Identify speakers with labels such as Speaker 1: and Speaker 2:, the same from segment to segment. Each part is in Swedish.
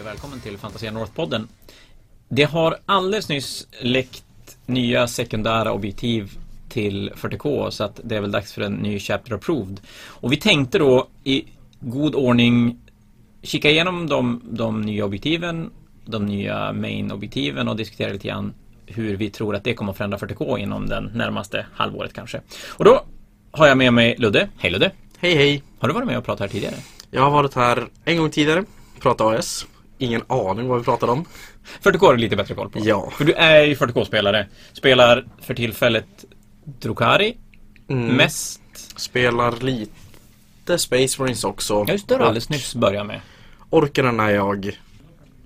Speaker 1: och välkommen till Fantasia North-podden. Det har alldeles nyss läckt nya sekundära objektiv till 40K så att det är väl dags för en ny Chapter Approved. Och vi tänkte då i god ordning kika igenom de, de nya objektiven, de nya main-objektiven och diskutera lite grann hur vi tror att det kommer att förändra 40K inom den närmaste halvåret kanske. Och då har jag med mig Ludde. Hej Ludde!
Speaker 2: Hej hej!
Speaker 1: Har du varit med och pratat här tidigare?
Speaker 2: Jag har varit här en gång tidigare, pratat AS. Ingen aning vad vi pratade om.
Speaker 1: 40K har du lite bättre koll på.
Speaker 2: Ja.
Speaker 1: För du är ju 40K-spelare. Spelar för tillfället Drukari
Speaker 2: Mm.
Speaker 1: mest.
Speaker 2: Spelar lite Space Marines också.
Speaker 1: Ja, just det har du
Speaker 2: Och
Speaker 1: alldeles nyss börjat med.
Speaker 2: Orkar när jag,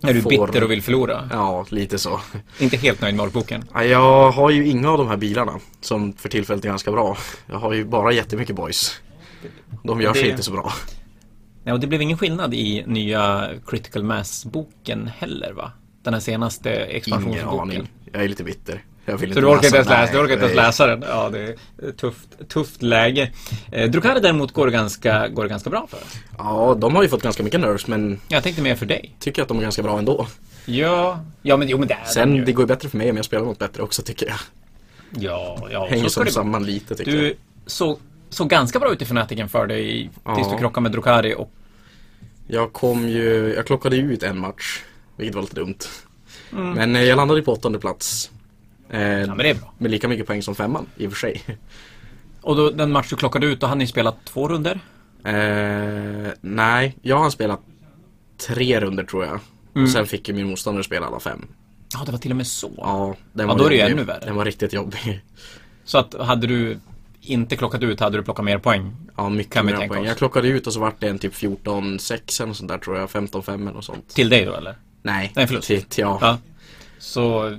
Speaker 1: Är du
Speaker 2: Får-
Speaker 1: bitter och vill förlora?
Speaker 2: ja lite så.
Speaker 1: Inte helt nöjd med orkboken.
Speaker 2: Ja, Jag har ju inga av de här bilarna som för tillfället är ganska bra. Jag har ju bara jättemycket boys. De gör sig
Speaker 1: Det-
Speaker 2: inte så bra.
Speaker 1: Nej, och det blev ingen skillnad i nya Critical Mass-boken heller va? Den här senaste
Speaker 2: Ingen
Speaker 1: expansionsboken.
Speaker 2: aning. Jag är lite bitter. Jag vill
Speaker 1: Så du orkar inte ens
Speaker 2: den.
Speaker 1: läsa, du orkar inte ens
Speaker 2: Nej.
Speaker 1: läsa den? Ja, det är ett tufft, tufft läge. Eh, Drukari däremot går det ganska, går det ganska bra för.
Speaker 2: Ja, de har ju fått ganska mycket nerves men
Speaker 1: Jag tänkte mer för dig.
Speaker 2: tycker att de är ganska bra ändå.
Speaker 1: Ja, ja men, jo, men det är den ju.
Speaker 2: Sen, det går ju bättre för mig men jag spelar mot bättre också tycker jag.
Speaker 1: Ja, ja.
Speaker 2: Hänger
Speaker 1: så ska
Speaker 2: som
Speaker 1: det vara.
Speaker 2: samman lite tycker jag.
Speaker 1: Du såg, såg ganska bra ut i Fnatiken för dig i-
Speaker 2: Ja.
Speaker 1: tills du krockade med Drukari och
Speaker 2: Jag kom ju, jag klockade ju ut en match, vilket var lite dumt. Men eh, jag landade på åttonde plats. Eh,
Speaker 1: Mm. Ja men det är bra.
Speaker 2: Med lika mycket poäng som femman i och för sig.
Speaker 1: Och då, den match du klockade ut, då hade ni spelat två runder
Speaker 2: Eh, nej, jag har spelat tre runder tror jag.
Speaker 1: Mm.
Speaker 2: Och sen fick ju min motståndare spela alla fem.
Speaker 1: Ja, det var till och med så.
Speaker 2: Ja, den
Speaker 1: Ja, då är det ju
Speaker 2: jobbig.
Speaker 1: ännu värre.
Speaker 2: Den var riktigt jobbig.
Speaker 1: Så att hade du inte klockat ut hade du plockat mer poäng.
Speaker 2: Ja, mycket
Speaker 1: Kan vi
Speaker 2: mer
Speaker 1: tänka
Speaker 2: poäng.
Speaker 1: oss.
Speaker 2: Jag klockade ut och så vart det en typ 14-6 eller något sånt där tror jag. 15-5 eller något sånt.
Speaker 1: Till dig då eller?
Speaker 2: Nej,
Speaker 1: Nej, förlåt.
Speaker 2: Shit, ja.
Speaker 1: Ja. Så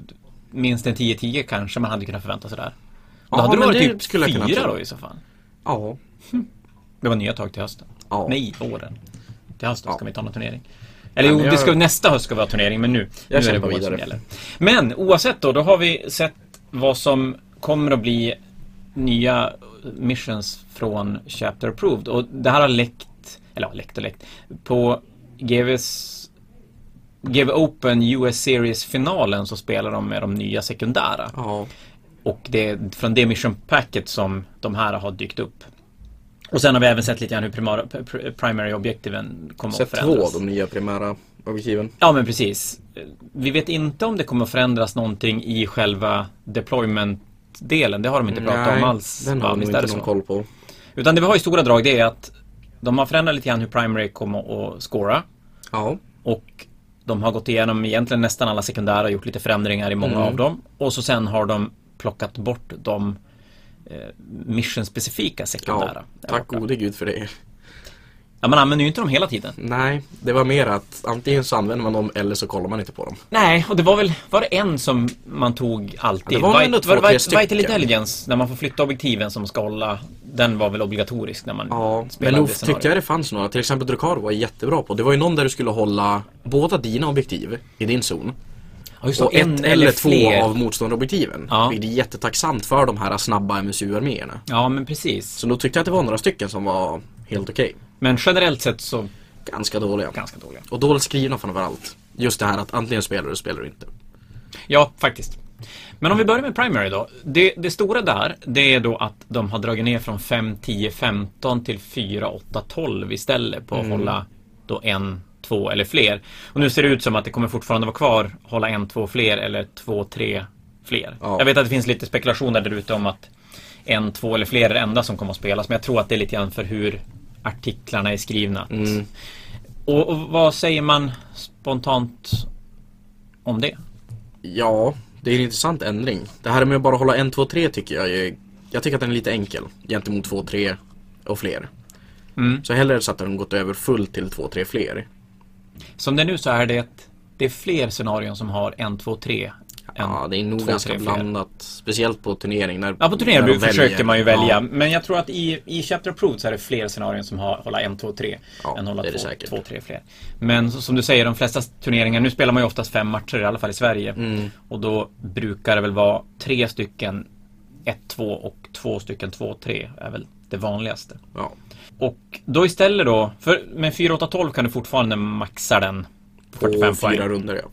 Speaker 1: minst en 10-10 kanske man hade kunnat förvänta sig där. Då
Speaker 2: Ja,
Speaker 1: hade du
Speaker 2: men
Speaker 1: varit
Speaker 2: det
Speaker 1: typ
Speaker 2: skulle jag kunna
Speaker 1: fyra
Speaker 2: tro.
Speaker 1: då i så fall.
Speaker 2: ja.
Speaker 1: Det var nya tag till hösten.
Speaker 2: Ja.
Speaker 1: Nej, våren. Till hösten
Speaker 2: Ja.
Speaker 1: ska vi ta någon turnering. Eller
Speaker 2: Ja,
Speaker 1: jo,
Speaker 2: men jag-
Speaker 1: det ska, nästa höst ska vi ha turnering, men nu, nu
Speaker 2: Jag
Speaker 1: är det
Speaker 2: kämpar
Speaker 1: våren som
Speaker 2: vidare.
Speaker 1: gäller. Men oavsett då, då har vi sett vad som kommer att bli nya missions från Chapter Approved. Och det här har läckt, eller ja, läckt och läckt, på GVs GV Open US Series-finalen så spelar de med de nya sekundära.
Speaker 2: ja.
Speaker 1: Och det är från det mission packet som de här har dykt upp. Och sen har vi även sett lite grann hur primar, pr- primary objektiven kommer att
Speaker 2: Sett två,
Speaker 1: förändras.
Speaker 2: de nya primära objektiven.
Speaker 1: Ja men precis. Vi vet inte om det kommer att förändras någonting i själva deployment-delen. Det har de inte pratat om alls.
Speaker 2: den
Speaker 1: va?
Speaker 2: har jag
Speaker 1: Visst
Speaker 2: nog
Speaker 1: är
Speaker 2: inte
Speaker 1: det
Speaker 2: någon
Speaker 1: så?
Speaker 2: koll på.
Speaker 1: Utan det vi har i stora drag det är att de har förändrat lite grann hur primary kommer att scora.
Speaker 2: Ja,
Speaker 1: Och de har gått igenom egentligen nästan alla sekundära och gjort lite förändringar i många av dem. Och så sen har de plockat bort de eh, mission-specifika sekundära.
Speaker 2: ja. tack gode gud för det.
Speaker 1: Ja, man använder ju inte dem hela tiden.
Speaker 2: Nej, det var mer att antingen så använder man dem eller så kollar man inte på dem.
Speaker 1: Nej, och det var väl, var det en som man tog alltid?
Speaker 2: Ja, det var väl ändå två, tre stycken.
Speaker 1: Vital Intelligence, när man får flytta objektiven som ska hålla, den var väl obligatorisk när man
Speaker 2: Ja, men
Speaker 1: spelade
Speaker 2: nog
Speaker 1: det scenariot.
Speaker 2: tyckte jag det fanns några. Till exempel Drukar var jag jättebra på. Det var ju någon där du skulle hålla båda dina objektiv i din zon.
Speaker 1: Ja, just det,
Speaker 2: Och ett eller två
Speaker 1: fler.
Speaker 2: av motståndarobjektiven.
Speaker 1: Ja.
Speaker 2: Vilket är jättetacksamt för de här snabba MSU-arméerna.
Speaker 1: Ja, men precis.
Speaker 2: Så då tyckte jag att det var några stycken som var helt okej.
Speaker 1: Men generellt sett så
Speaker 2: Ganska dåliga.
Speaker 1: ganska dåliga.
Speaker 2: Och dåligt skrivna framförallt. Just det här att antingen spelar du, spelar du inte.
Speaker 1: Ja, faktiskt. Men om vi börjar med primary då. Det, det stora där, det är då att de har dragit ner från 5, 10, 15 till 4, 8, 12 istället på att hålla då en, två eller fler. Och nu ser det ut som att det kommer fortfarande vara kvar hålla en, två fler eller två, tre fler.
Speaker 2: Ja.
Speaker 1: Jag vet att det finns lite spekulationer där ute om att en, två eller fler är det enda som kommer att spelas. Men jag tror att det är lite grann för hur artiklarna är skrivna. Och, och vad säger man spontant om det?
Speaker 2: Ja, det är en intressant ändring. Det här med att bara hålla 1, 2, 3 tycker jag är, Jag tycker att den är lite enkel gentemot 2, 3 och fler.
Speaker 1: Mm.
Speaker 2: Så hellre så att den gått över fullt till 2, 3 fler.
Speaker 1: Som det är nu så är det att det är fler scenarion som har en, två, tre. än
Speaker 2: Ja, det är nog
Speaker 1: två,
Speaker 2: ganska
Speaker 1: tre, fler.
Speaker 2: blandat. Speciellt på turnering. När,
Speaker 1: Ja, på
Speaker 2: när de
Speaker 1: turneringen försöker
Speaker 2: väljer.
Speaker 1: man ju välja.
Speaker 2: Ja,
Speaker 1: Men jag tror att i, i Chapter Approved så är det fler scenarion som har hålla en, två, tre.
Speaker 2: Ja,
Speaker 1: än hålla
Speaker 2: det är
Speaker 1: två,
Speaker 2: det säkert.
Speaker 1: två, tre fler. Men så, som du säger, de flesta turneringar, nu spelar man ju oftast fem matcher, i alla fall i Sverige.
Speaker 2: Mm.
Speaker 1: Och då brukar det väl vara tre stycken ett, två och två stycken två, tre är väl det vanligaste.
Speaker 2: ja.
Speaker 1: Och då istället då, för med 4, 8, 12 kan du fortfarande maxa den
Speaker 2: på
Speaker 1: 45
Speaker 2: fyra
Speaker 1: poäng.
Speaker 2: runder ja.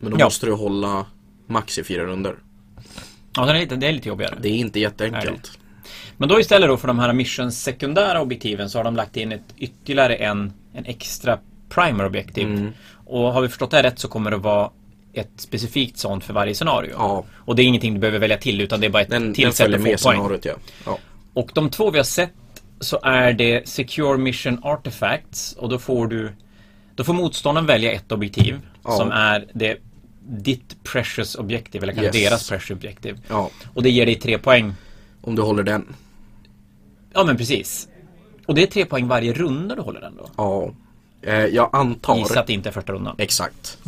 Speaker 2: Men då
Speaker 1: Ja.
Speaker 2: måste du hålla max i fyra runder.
Speaker 1: Ja, den är lite, det är lite jobbigare.
Speaker 2: Det är inte jätteenkelt.
Speaker 1: Men då istället då för de här missions sekundära objektiven så har de lagt in ett, ytterligare en, en extra primer objektiv.
Speaker 2: Mm.
Speaker 1: Och har vi förstått det här rätt så kommer det vara ett specifikt sånt för varje scenario.
Speaker 2: Ja.
Speaker 1: Och det är ingenting du behöver välja till utan det är bara ett
Speaker 2: Den, den
Speaker 1: tillsätt
Speaker 2: följer
Speaker 1: och
Speaker 2: med
Speaker 1: få poäng.
Speaker 2: scenariot ja. ja.
Speaker 1: Och de två vi har sett så är det Secure Mission Artifacts och då får du Då får motståndaren välja ett objektiv
Speaker 2: Ja.
Speaker 1: som är det ditt precious objektiv eller kanske
Speaker 2: Yes.
Speaker 1: deras precious objektiv.
Speaker 2: ja.
Speaker 1: Och det ger dig tre poäng.
Speaker 2: Om du håller den.
Speaker 1: Ja men precis. Och det är tre poäng varje runda du håller den då.
Speaker 2: Ja. Eh, jag antar.
Speaker 1: Gissa Mm. att det inte är första rundan.
Speaker 2: Exakt.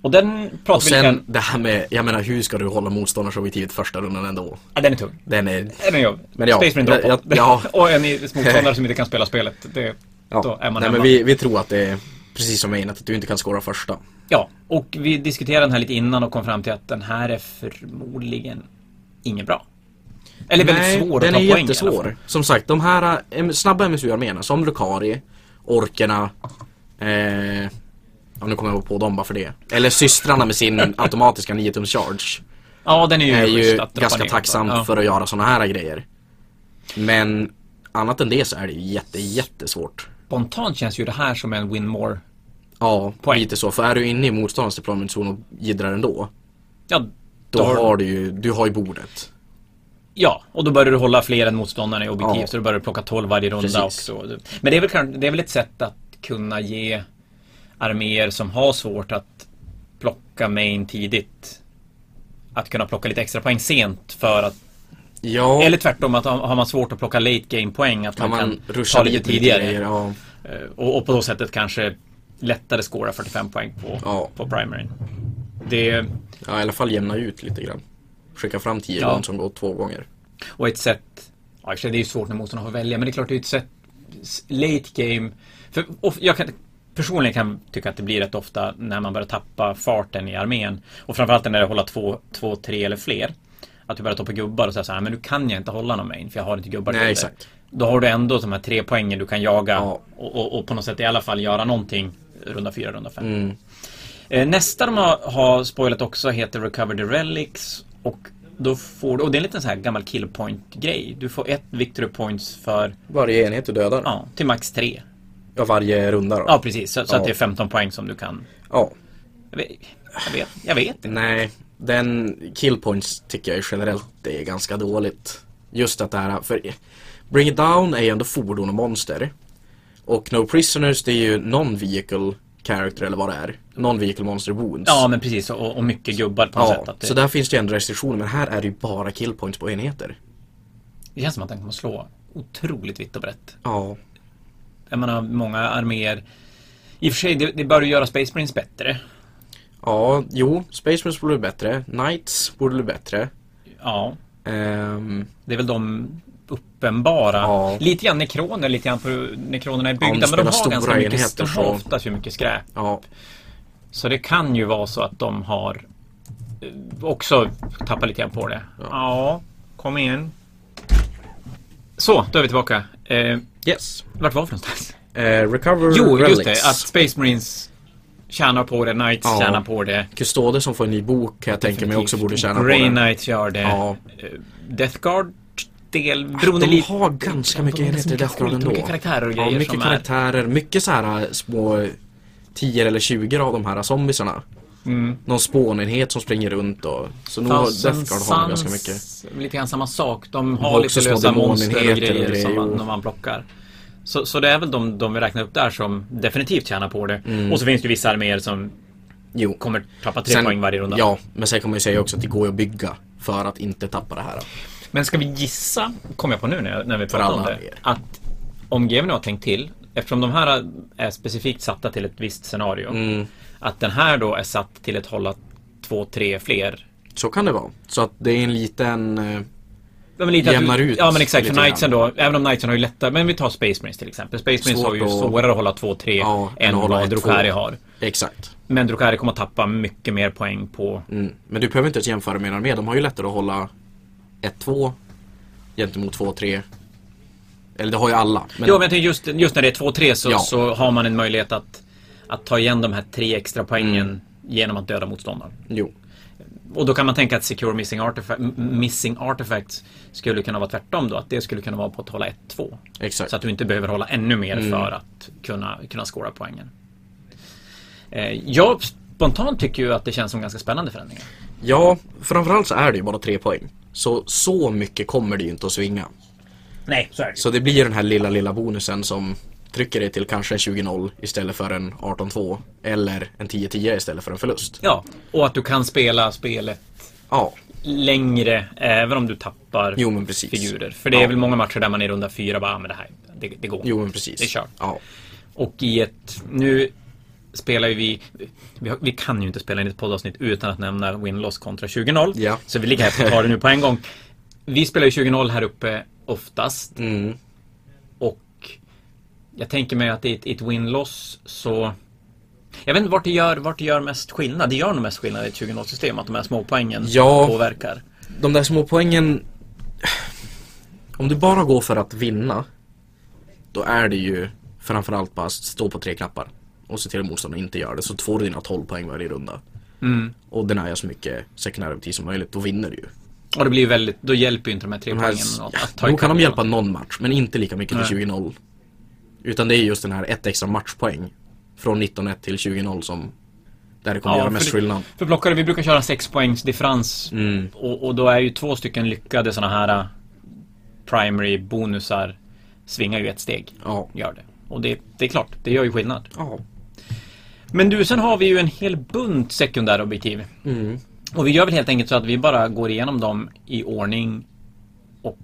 Speaker 1: Och den pratar
Speaker 2: Och
Speaker 1: vi lite
Speaker 2: sen
Speaker 1: grann-
Speaker 2: det här med, jag menar hur ska du hålla motståndarsobjektivet första rundan ändå?
Speaker 1: Ja, den är tung.
Speaker 2: Den är...
Speaker 1: Den är jobb.
Speaker 2: Men ja,
Speaker 1: Space Marine
Speaker 2: men
Speaker 1: Dropout.
Speaker 2: jag- ja.
Speaker 1: och en i- motståndare som inte kan spela spelet. Det,
Speaker 2: Ja.
Speaker 1: Då är man
Speaker 2: Nej,
Speaker 1: hemma.
Speaker 2: men vi, vi tror att det är precis som Einat, att du inte kan skåra första.
Speaker 1: Ja, och vi diskuterade den här lite innan och kom fram till att den här är förmodligen ingen bra. Eller väldigt svår
Speaker 2: den
Speaker 1: att ta
Speaker 2: är
Speaker 1: poäng i alla fall.
Speaker 2: jättesvår. Som sagt, de här eh, snabba MSU-arméerna som Lucari, Orkerna, eh, ja, nu kommer jag på dem bara för det. Eller systrarna med sin automatiska 9-tums charge.
Speaker 1: Ja, den är ju,
Speaker 2: Är ju
Speaker 1: schysst att droppa
Speaker 2: ganska
Speaker 1: ner.
Speaker 2: tacksam
Speaker 1: ja.
Speaker 2: för att göra sådana här grejer. Men annat än det så är det ju jätte, jättesvårt.
Speaker 1: Spontant känns ju det här som en win more.
Speaker 2: Ja,
Speaker 1: Poäng.
Speaker 2: lite så. För är du inne i motståndarens deploymentzon och jiddrar ändå,
Speaker 1: Ja,
Speaker 2: då har du ju, du har ju bordet.
Speaker 1: ja, och då börjar du hålla fler än motståndarna i objektiv
Speaker 2: Ja.
Speaker 1: så du börjar plocka 12 varje runda. Och
Speaker 2: Precis.
Speaker 1: så. Men det är, väl, kanske- det är väl ett sätt att kunna ge arméer som har svårt att plocka main tidigt att kunna plocka lite extra poäng sent för att
Speaker 2: Ja,
Speaker 1: Eller tvärtom, att har har man svårt att plocka late game poäng att
Speaker 2: kan
Speaker 1: man,
Speaker 2: man
Speaker 1: kan
Speaker 2: ruscha
Speaker 1: ta lite
Speaker 2: dit med
Speaker 1: tidigare.
Speaker 2: grejer, Ja.
Speaker 1: Eh, Och, och på så sättet kanske lättare skåra 45 poäng på,
Speaker 2: Ja.
Speaker 1: på primary. Det
Speaker 2: Ja, i alla fall jämna ut lite grann. Skicka fram tio
Speaker 1: Ja.
Speaker 2: ja. som går två gånger.
Speaker 1: och ett sätt, ja i och för sig, det är ju svårt när motståndarna har att välja, men det är klart det är ett sätt, s- late game. För, och jag kan, personligen kan tycka att det blir rätt ofta när man börjar tappa farten i armén. Och framförallt när det håller två, två, tre eller fler. Att du börjar tappa gubbar och säga så här, men nu kan jag inte hålla någon main för jag har inte gubbar
Speaker 2: Nej,
Speaker 1: till det."
Speaker 2: exakt.
Speaker 1: Då har du ändå de här tre poängen du kan jaga
Speaker 2: Ja.
Speaker 1: och, och, och på något sätt i alla fall göra någonting runda fyra, runda fem.
Speaker 2: Mm.
Speaker 1: Eh, Nästa de har, har spoilat också heter Recover the Relics och då får du, och det är en liten så här gammal kill point grej. Du får ett victory points för,
Speaker 2: Varje enhet du dödar. Ja.
Speaker 1: ja, till max tre.
Speaker 2: varje runda då.
Speaker 1: Ja, precis. Så, så
Speaker 2: Ja.
Speaker 1: att det är 15 poäng som du kan.
Speaker 2: Ja.
Speaker 1: Jag vet, jag vet, jag vet inte.
Speaker 2: Nej, den killpoints tycker jag ju generellt det är ganska dåligt. Just att det här, för Bring It Down är ju ändå fordon och monster. Och No Prisoners det är ju non-vehicle character eller vad det är. Non-vehicle monster wounds.
Speaker 1: Ja, men precis. Och, och mycket gubbar på något
Speaker 2: Ja,
Speaker 1: sätt. Att
Speaker 2: så
Speaker 1: det,
Speaker 2: där finns det ju ändå restriktioner men här är det ju bara killpoints på enheter.
Speaker 1: det känns som att den kommer slå otroligt vitt och brett.
Speaker 2: Ja,
Speaker 1: Jag menar, många arméer. I och för sig, det, det bör ju göra Space Marines bättre.
Speaker 2: ja jo, Space Marines borde bli bättre. Knights borde bli bättre.
Speaker 1: Ja,
Speaker 2: Ehm,
Speaker 1: det är väl de uppenbara.
Speaker 2: Ja.
Speaker 1: Lite grann nekroner, lite grann på hur nekronerna är byggda. men de
Speaker 2: spelar
Speaker 1: har
Speaker 2: stora
Speaker 1: ganska mycket,
Speaker 2: enheter
Speaker 1: de har
Speaker 2: så-
Speaker 1: oftast ju mycket skräp.
Speaker 2: ja,
Speaker 1: Så det kan ju vara så att de har eh, också tappat lite grann på det. Ja, kom igen. Så, då är vi tillbaka. Eh,
Speaker 2: yes.
Speaker 1: vart var vi någonstans?
Speaker 2: Eh, recover
Speaker 1: Jo,
Speaker 2: relics.
Speaker 1: just det. Att Space Marines tjänar på det, Knights
Speaker 2: Ja.
Speaker 1: tjänar på det.
Speaker 2: Custodes som får en ny bok kan jag tänka mig också borde tjäna på
Speaker 1: Grey
Speaker 2: det.
Speaker 1: Knights gör det.
Speaker 2: Ja. Ah,
Speaker 1: Eh, Death Guard del, beroende
Speaker 2: De
Speaker 1: lite...
Speaker 2: har ganska mycket
Speaker 1: de har
Speaker 2: enheter i
Speaker 1: mycket
Speaker 2: Death Guard
Speaker 1: skit,
Speaker 2: ändå.
Speaker 1: mycket karaktärer och
Speaker 2: ja,
Speaker 1: grejer
Speaker 2: mycket
Speaker 1: som är-
Speaker 2: karaktärer, mycket så här eh, små 10 eller 20 av de här zombisarna. Någon spånenhet som springer runt och så nog har
Speaker 1: Mm. Thousand
Speaker 2: Death Guard har ganska
Speaker 1: Suns,
Speaker 2: mycket.
Speaker 1: Lite grann samma sak. De har
Speaker 2: har
Speaker 1: lite
Speaker 2: också små
Speaker 1: lösa monster och
Speaker 2: demonenheter
Speaker 1: grejer
Speaker 2: och grejer,
Speaker 1: som man,
Speaker 2: jo.
Speaker 1: när man plockar. Så, så det är väl de, de vi räknar upp där som definitivt tjänar på det.
Speaker 2: Mm.
Speaker 1: Och så finns det vissa arméer som
Speaker 2: Jo.
Speaker 1: kommer tappa tre poäng varje runda.
Speaker 2: Ja, men sen kan man ju säga också att det går ju att bygga för att inte tappa det här.
Speaker 1: Men ska vi gissa, kom jag på nu när, jag- när vi pratade om
Speaker 2: alla
Speaker 1: det,
Speaker 2: er.
Speaker 1: att om GW nu har tänkt till, eftersom de här är specifikt satta till ett visst scenario, att den här då är satt till att hålla två, tre fler.
Speaker 2: Så kan det vara. Så att det är en liten eh,
Speaker 1: Ja, men lite
Speaker 2: Jämnar
Speaker 1: att,
Speaker 2: ut
Speaker 1: Ja men exakt, för
Speaker 2: lite
Speaker 1: Knightsen då, även om Knightsen har ju lättare, men vi tar Space Marines till exempel. Space Marines
Speaker 2: Svårt
Speaker 1: har ju
Speaker 2: att-
Speaker 1: svårare att hålla två, tre
Speaker 2: Ja, än
Speaker 1: än
Speaker 2: att hålla
Speaker 1: vad
Speaker 2: ett,
Speaker 1: Drukari
Speaker 2: två.
Speaker 1: har.
Speaker 2: Exakt.
Speaker 1: Men Drukari kommer att tappa mycket mer poäng på...
Speaker 2: Mm. Men du behöver inte ens jämföra med en armé. De har ju lättare att hålla 1-2 gentemot 2-3. Eller det har ju alla. Men
Speaker 1: Jo men jag tänker just, just när det är två, tre så,
Speaker 2: Ja.
Speaker 1: så har man en möjlighet att att ta igen de här tre extra poängen genom att döda motståndaren.
Speaker 2: Jo.
Speaker 1: Och då kan man tänka att Secure Missing, Artifact, m- missing Artifacts skulle kunna vara tvärtom då. Att det skulle kunna vara på att hålla 1-2.
Speaker 2: Exakt. Mm.
Speaker 1: Så att du inte behöver hålla ännu mer för att kunna, kunna skåra poängen. Eh, jag spontant tycker ju att det känns som ganska spännande förändringar.
Speaker 2: Ja, framförallt så är det ju bara tre poäng. Så, så mycket kommer det ju inte att svinga.
Speaker 1: Nej, så är det
Speaker 2: Så det blir ju den här lilla, lilla bonusen som trycker dig till kanske en 20-0 istället för en 18-2 eller en 10-10 istället för en förlust.
Speaker 1: Ja, och att du kan spela spelet
Speaker 2: Ja,
Speaker 1: längre även om du tappar
Speaker 2: jo men precis.
Speaker 1: figurer. För det är
Speaker 2: Ja.
Speaker 1: väl många matcher där man i runda fyra bara, "Ah, men det här, det, det går
Speaker 2: Jo men precis.
Speaker 1: Det är kört.
Speaker 2: Ja.
Speaker 1: Och i ett, nu spelar ju vi, vi, har, vi kan ju inte spela in ett poddavsnitt utan att nämna win-loss kontra 20-0.
Speaker 2: Ja.
Speaker 1: Så vi ligger här och tar det nu på en gång. Vi spelar ju 20-0 här uppe oftast.
Speaker 2: Mm.
Speaker 1: Och jag tänker mig att i ett, i ett win-loss så... Jag vet inte vart det, gör, vart det gör mest skillnad. Det gör nog mest skillnad i ett 20-0-system att de här småpoängen
Speaker 2: Ja.
Speaker 1: påverkar.
Speaker 2: De där små poängen Om du bara går för att vinna Då är det ju framförallt bara att stå på tre knappar Och se till att motståndaren inte gör det så får du dina 12 poäng varje runda
Speaker 1: Mm.
Speaker 2: Och den är så mycket secondary objektiv som möjligt, då vinner du ju
Speaker 1: Och det blir ju väldigt, då hjälper ju inte de här tre
Speaker 2: de här,
Speaker 1: poängen något
Speaker 2: ja,
Speaker 1: att ta
Speaker 2: Då kan
Speaker 1: ikapp.
Speaker 2: de hjälpa någon match, men inte lika mycket till 20-0 Utan det är just den här ett extra matchpoäng Från 19-1 till 20-0 som Där det kommer
Speaker 1: Ja,
Speaker 2: göra
Speaker 1: för
Speaker 2: mest
Speaker 1: det-
Speaker 2: skillnad
Speaker 1: För blockare, vi brukar köra sex poängs differens
Speaker 2: mm.
Speaker 1: och, och då är ju två stycken lyckade såna här eh, primary bonusar svingar ju ett steg.
Speaker 2: Ja,
Speaker 1: Gör det. Och det, det är klart, det gör ju skillnad.
Speaker 2: ja.
Speaker 1: Men du, sen har vi ju en hel bunt sekundära objektiv.
Speaker 2: Mm.
Speaker 1: Och vi gör väl helt enkelt så att vi bara går igenom dem i ordning och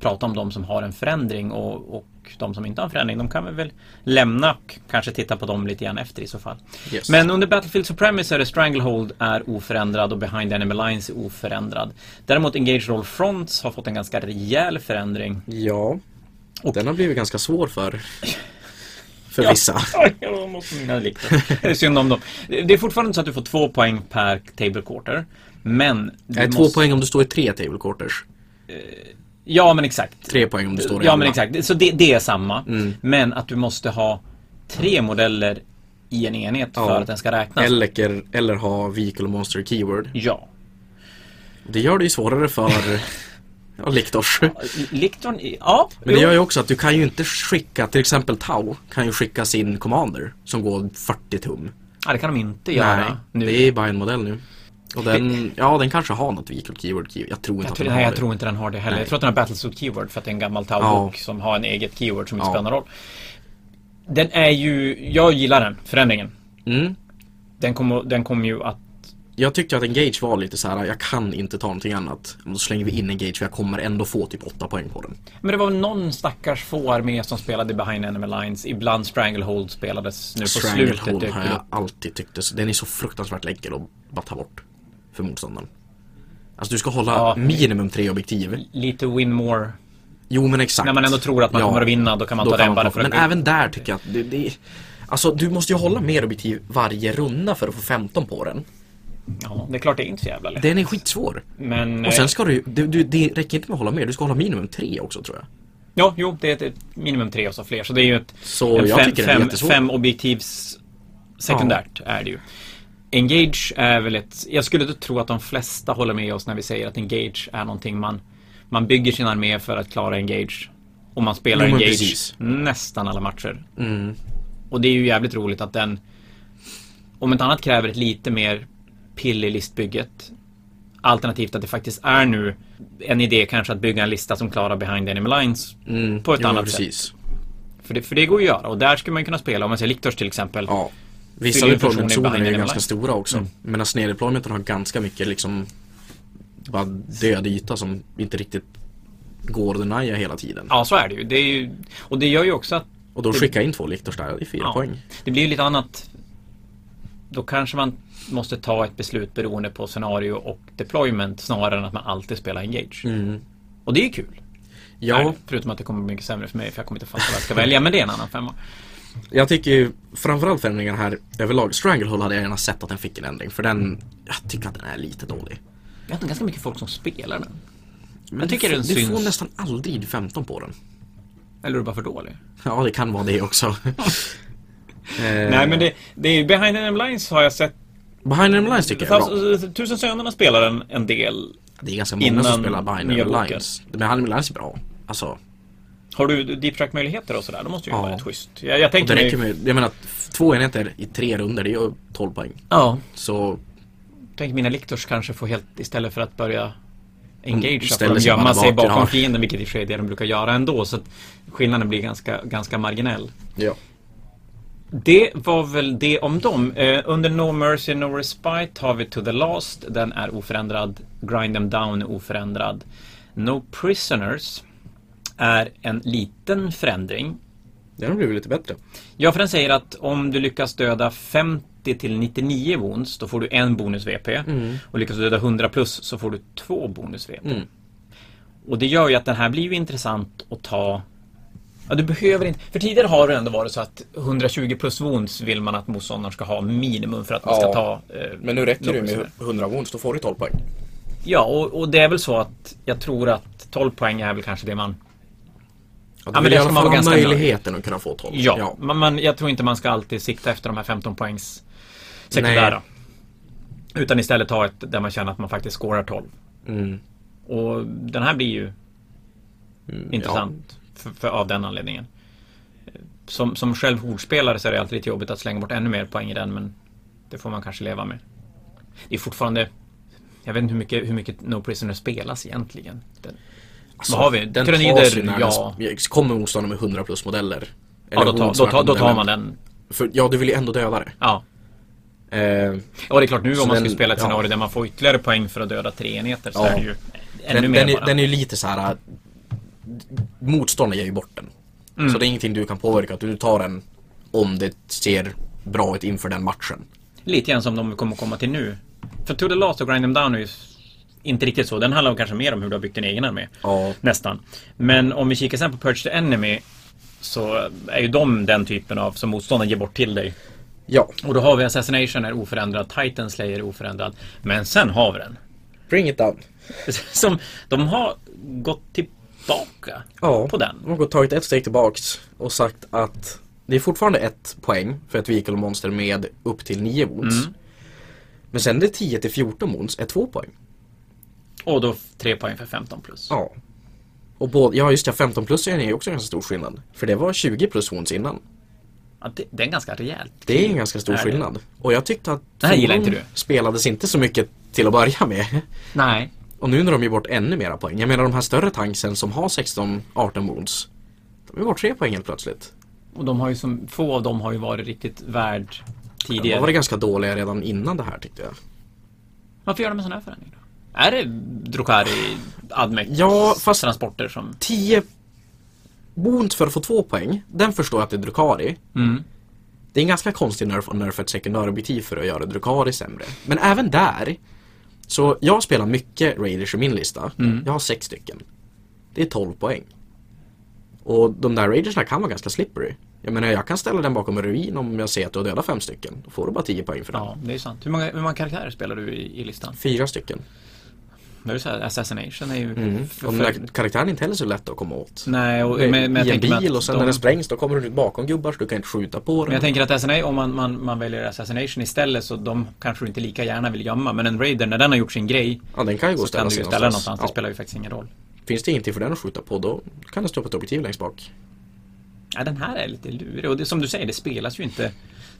Speaker 1: pratar om de som har en förändring och, och de som inte har en förändring. De kan vi väl lämna och kanske titta på dem lite grann efter i så fall.
Speaker 2: Yes.
Speaker 1: Men under Battlefield Supremacy är det Stranglehold är oförändrad och Behind Enemy Lines är oförändrad. Däremot Engage Roll Fronts har fått en ganska rejäl förändring.
Speaker 2: Ja.
Speaker 1: Och-
Speaker 2: den har blivit ganska svår för, för
Speaker 1: Ja.
Speaker 2: vissa.
Speaker 1: Oj, jag måste mina liknande. Det är synd om dem. Det är fortfarande så att du får två poäng per table quarter. Men... du
Speaker 2: Nej, två
Speaker 1: måste-
Speaker 2: poäng om du står i tre table quarters.
Speaker 1: Ja, men exakt.
Speaker 2: Tre poäng om du står Mm. i
Speaker 1: Ja
Speaker 2: alla.
Speaker 1: men exakt, så det, det är samma. Men att du måste ha tre modeller i en enhet för
Speaker 2: Ja.
Speaker 1: att den ska räknas.
Speaker 2: Eller, eller ha vehicle monster keyword.
Speaker 1: Ja.
Speaker 2: Det gör det ju svårare för ja, Liktors.
Speaker 1: Liktorn, i- ja.
Speaker 2: Men det
Speaker 1: jo.
Speaker 2: gör ju också att du kan ju inte skicka, till exempel Tau kan ju skicka sin commander som går 40 tum.
Speaker 1: ja, det kan de inte göra nu.
Speaker 2: det är bara en modell nu. Och den, ja den kanske har något vehicle keyword, keyword. Jag tror inte
Speaker 1: Jag
Speaker 2: att
Speaker 1: tror,
Speaker 2: den
Speaker 1: nej,
Speaker 2: har
Speaker 1: jag
Speaker 2: det.
Speaker 1: tror inte den har det heller.
Speaker 2: Nej.
Speaker 1: Jag tror att den har Battlesuit Keyword för att det är en gammal
Speaker 2: Ja.
Speaker 1: Tau-bok som har en eget keyword som inte
Speaker 2: Ja.
Speaker 1: spelar någon roll. Den är ju, jag gillar den förändringen.
Speaker 2: Mm.
Speaker 1: Den kommer den kom ju att,
Speaker 2: Jag tyckte att Engage var lite så här. jag kan inte ta någonting annat. Då slänger vi in Engage för jag kommer ändå få typ 8 poäng på den.
Speaker 1: men det var väl någon stackars få armé som spelade Behind Enemy Lines. Ibland Stranglehold spelades nu på slutet.
Speaker 2: Stranglehold
Speaker 1: Det-
Speaker 2: har jag alltid tyckt, det- den är så fruktansvärt enkel att bara ta bort. För motståndaren. Alltså du ska hålla
Speaker 1: Ja.
Speaker 2: minimum tre objektiv.
Speaker 1: Lite win more
Speaker 2: Jo men exakt.
Speaker 1: När man ändå tror att man
Speaker 2: Ja,
Speaker 1: kommer att vinna, då kan man
Speaker 2: då
Speaker 1: ta
Speaker 2: kan
Speaker 1: den bara
Speaker 2: man
Speaker 1: för
Speaker 2: ta-
Speaker 1: att...
Speaker 2: Men även där tycker jag att det, det Alltså du måste ju hålla mer objektiv varje runda för att få 15 på den.
Speaker 1: Ja, det är klart det är inte så jävla lätt.
Speaker 2: Den är skitsvår.
Speaker 1: Men...
Speaker 2: Och
Speaker 1: eh,
Speaker 2: sen ska du ju- du, du, det räcker inte med att hålla mer, du ska hålla minimum tre också tror jag.
Speaker 1: Ja, jo, det är ett- ett minimum tre och så fler. Så det är ju ett...
Speaker 2: Så
Speaker 1: en
Speaker 2: jag
Speaker 1: fem,
Speaker 2: tycker den är
Speaker 1: fem,
Speaker 2: jättesvår.
Speaker 1: fem objektivs sekundärt är det ju. Engage är väl ett... Jag skulle inte tro att de flesta håller med oss när vi säger att engage är någonting man... Man bygger sin armé för att klara engage. Och man spelar
Speaker 2: Jo, men
Speaker 1: engage
Speaker 2: precis. Mm.
Speaker 1: nästan alla matcher. Och det är ju jävligt roligt att den... Om inte annat kräver ett lite mer pill i listbygget. Alternativt att det faktiskt är nu en idé kanske att bygga en lista som klarar behind enemy lines på ett
Speaker 2: Mm. Jo, men
Speaker 1: annat sätt.
Speaker 2: precis.
Speaker 1: För det, för det går ju att göra och där skulle man kunna spela, om man säger Liktors till exempel.
Speaker 2: Ja.
Speaker 1: Fyller
Speaker 2: Vissa
Speaker 1: ju funktionen
Speaker 2: deploymentzoner
Speaker 1: behind
Speaker 2: är Mm. ju
Speaker 1: enemy
Speaker 2: ganska
Speaker 1: lines.
Speaker 2: stora också. Medan snedeploymenten har ganska mycket liksom bara död yta som inte riktigt går att denia hela tiden.
Speaker 1: Ja, så är det ju. Det är ju och det gör ju också att
Speaker 2: Och då skickar jag in två liktors där, det är fyra
Speaker 1: ja,
Speaker 2: poäng.
Speaker 1: det blir ju lite annat. Då kanske man måste ta ett beslut beroende på scenario och deployment snarare än att man alltid spelar engage. Och det är ju kul. Är
Speaker 2: Mm. Ja,
Speaker 1: det. Förutom att det kommer bli mycket sämre för mig för jag kommer inte fatta vad jag ska välja. Men det är en annan femma.
Speaker 2: jag tycker ju framförallt förändringen här överlag. Stranglehold hade jag gärna sett att den fick en ändring för den, jag tycker att den är lite dålig.
Speaker 1: Jag vet inte, ganska mycket folk som spelar den.
Speaker 2: Men
Speaker 1: Jag tycker
Speaker 2: du,
Speaker 1: den
Speaker 2: får- du
Speaker 1: syns.
Speaker 2: får nästan aldrig 15 på den.
Speaker 1: Eller är du bara för dålig?
Speaker 2: Ja, det kan vara det också.
Speaker 1: Nej men det, det är ju Behind Enemy Lines har jag sett.
Speaker 2: Behind Enemy Lines tycker jag är bra.
Speaker 1: Tusen- Tusen sönerna spelar en, en del.
Speaker 2: Det är ganska många
Speaker 1: Innan
Speaker 2: som spelar Behind
Speaker 1: nya
Speaker 2: Enemy
Speaker 1: boken.
Speaker 2: Lines. Men Behind Enemy Lines är bra. Alltså,
Speaker 1: Har du deep track möjligheter och sådär? Då måste ju
Speaker 2: Ja.
Speaker 1: vara rätt schysst. Jag, jag
Speaker 2: och
Speaker 1: tänker
Speaker 2: det räcker
Speaker 1: mig-
Speaker 2: med, jag menar f- två enheter i tre runder det gör 12 poäng.
Speaker 1: Ja.
Speaker 2: Så
Speaker 1: Tänk mina liktors kanske får helt, istället för att börja
Speaker 2: Mm,
Speaker 1: engage så får
Speaker 2: ställer
Speaker 1: de
Speaker 2: sig bara
Speaker 1: gömma sig
Speaker 2: bak,
Speaker 1: bakom
Speaker 2: ja.
Speaker 1: fienden, vilket i och för sig är det de brukar göra ändå. Så att skillnaden blir ganska, ganska marginell.
Speaker 2: ja.
Speaker 1: Det var väl det om dem. Eh, under No Mercy No Respite har vi To The Last. Den är oförändrad. Grind Them Down är oförändrad. No Prisoners är en liten förändring.
Speaker 2: Den har blivit lite bättre.
Speaker 1: Ja, för den säger att om du lyckas döda 50 till 99 wounds, då får du en bonus VP. Och lyckas du döda 100 plus så får du två bonus VP.
Speaker 2: Mm.
Speaker 1: Och det gör ju att den här blir ju intressant att ta Ja, du behöver inte. För tidigare har det ändå varit så att 120 plus wounds vill man att motståndaren ska ha minimum för att man
Speaker 2: Ja.
Speaker 1: ska ta... eh,
Speaker 2: Men nu räcker det ju med
Speaker 1: Loppis.
Speaker 2: 100 wounds, då får du 12 poäng.
Speaker 1: Ja, och, och det är väl så att jag tror att 12 poäng är väl kanske det man...
Speaker 2: Ja,
Speaker 1: Ja,
Speaker 2: men
Speaker 1: men
Speaker 2: det
Speaker 1: där
Speaker 2: i
Speaker 1: ska
Speaker 2: alla
Speaker 1: man vara
Speaker 2: fall ha
Speaker 1: ganska nöjd.
Speaker 2: möjligheten att kunna få 12.
Speaker 1: Ja, Men, men jag tror inte man ska alltid sikta efter de här 15 poängs sekundära. Utan istället ta ett där man känner att man faktiskt scorar 12.
Speaker 2: Mm.
Speaker 1: Och den här blir ju
Speaker 2: Mm,
Speaker 1: intressant för, för, av den anledningen. Som, som själv hordspelare så är det alltid lite jobbigt att slänga bort ännu mer poäng i den men det får man kanske leva med. Det är fortfarande jag vet inte hur mycket, hur mycket No Prisoner spelas egentligen. Den,
Speaker 2: Alltså,
Speaker 1: Vad har vi?
Speaker 2: Den
Speaker 1: Tyranider,
Speaker 2: tas ju när
Speaker 1: ja.
Speaker 2: den sp- kommer motståndaren med 100 plus modeller.
Speaker 1: ja, då, tar-
Speaker 2: wounds
Speaker 1: då,
Speaker 2: när
Speaker 1: tar- då tar
Speaker 2: kommer
Speaker 1: man den.
Speaker 2: För, ja, du vill ju ändå döda det.
Speaker 1: Ja.
Speaker 2: Eh,
Speaker 1: Ja, det är klart nu
Speaker 2: Så
Speaker 1: om man
Speaker 2: den-
Speaker 1: skulle spela ett
Speaker 2: ja.
Speaker 1: scenario där man får ytterligare poäng för att döda tre enheter så
Speaker 2: Ja.
Speaker 1: är det ju ännu
Speaker 2: den,
Speaker 1: mer
Speaker 2: den, är,
Speaker 1: bara.
Speaker 2: den är ju lite så här. äh, Motståndaren ger ju bort den.
Speaker 1: Mm.
Speaker 2: Så det är ingenting du kan påverka. att Du tar den om det ser bra ut inför den matchen.
Speaker 1: Lite grann som de vi kommer komma till nu. För To the Last och Grind Them Down är ju inte riktigt så. Den handlar kanske mer om hur du har byggt din egen armé.
Speaker 2: Ja.
Speaker 1: Nästan. Men om vi kikar sen på Purge the Enemy så är ju de den typen av som motståndaren ger bort till dig.
Speaker 2: Ja.
Speaker 1: Och då har vi Assassination är oförändrad, Titan Slayer är oförändrad. Men sen har vi den.
Speaker 2: Bring it down.
Speaker 1: Som de har gått tillbaka
Speaker 2: Ja.
Speaker 1: på den.
Speaker 2: De har gått- tagit ett steg tillbaks och sagt att det är fortfarande ett poäng för ett vehicle monster med upp till 9 wounds.
Speaker 1: Mm.
Speaker 2: Men sen det 10 till 14 wounds är två poäng.
Speaker 1: Och då tre poäng för 15 plus.
Speaker 2: Ja. Och både, ja just ja, 15 plus är ju också en ganska stor skillnad. För det var 20 plus wounds innan.
Speaker 1: Ja, det, det är ganska rejält.
Speaker 2: Det är en ganska stor
Speaker 1: Är det?
Speaker 2: skillnad. Och jag tyckte att
Speaker 1: Det här gillar
Speaker 2: fordon
Speaker 1: inte
Speaker 2: spelades inte så mycket till att börja med.
Speaker 1: Nej.
Speaker 2: Och nu när de ger bort ännu mera poäng. Jag menar de här större tanksen som har 16-18 wounds. De ger bort 3 poäng helt plötsligt.
Speaker 1: Och de har ju som, få av dem har ju varit riktigt värd
Speaker 2: De var
Speaker 1: tidigare.
Speaker 2: det ganska dåliga redan innan det här tyckte jag.
Speaker 1: Varför gör de en sån här förändring då? Är det Drukari Admec
Speaker 2: Ja, fast-
Speaker 1: transporter som...
Speaker 2: 10 wounds för att få 2 poäng. Den förstår jag att det är Drukari.
Speaker 1: Mm.
Speaker 2: Det är en ganska konstig nerf att nerfa ett sekundärobjektiv för att göra Drukari sämre. Men även där. Så jag spelar mycket Raiders i min lista.
Speaker 1: Mm.
Speaker 2: Jag har sex stycken. Det är 12 poäng. Och de där Raidersna kan vara ganska slippery. Jag menar jag kan ställa den bakom en ruin om jag ser att du har dödat fem stycken. Då får du bara 10 poäng för den.
Speaker 1: Ja, det är sant. Hur många, hur många karaktärer spelar du i, i listan?
Speaker 2: Fyra stycken.
Speaker 1: Det är ju så här, Assassination är ju... För,
Speaker 2: Och den där
Speaker 1: för,
Speaker 2: karaktären är inte heller så lätt att komma åt.
Speaker 1: nej, och, men, men jag
Speaker 2: I en
Speaker 1: tänker mig att
Speaker 2: bil och sen
Speaker 1: de-
Speaker 2: när den sprängs då kommer den ut bakom gubbar så du kan inte skjuta på
Speaker 1: Men jag
Speaker 2: den.
Speaker 1: tänker att SNA, om man, man, man väljer Assassination istället så de kanske du inte lika gärna vill gömma. Men en Raider, när den har gjort sin grej,
Speaker 2: Ja, den kan ju gå
Speaker 1: så
Speaker 2: och ställa
Speaker 1: kan du
Speaker 2: sig
Speaker 1: ju ställa den
Speaker 2: någonstans.
Speaker 1: någonstans. Det
Speaker 2: Ja.
Speaker 1: spelar ju faktiskt ingen roll.
Speaker 2: Finns det ingenting för den att skjuta på då kan den stå på ett objektiv längst bak.
Speaker 1: Ja, den här är lite lurig. Och det, som du säger, det spelas ju inte.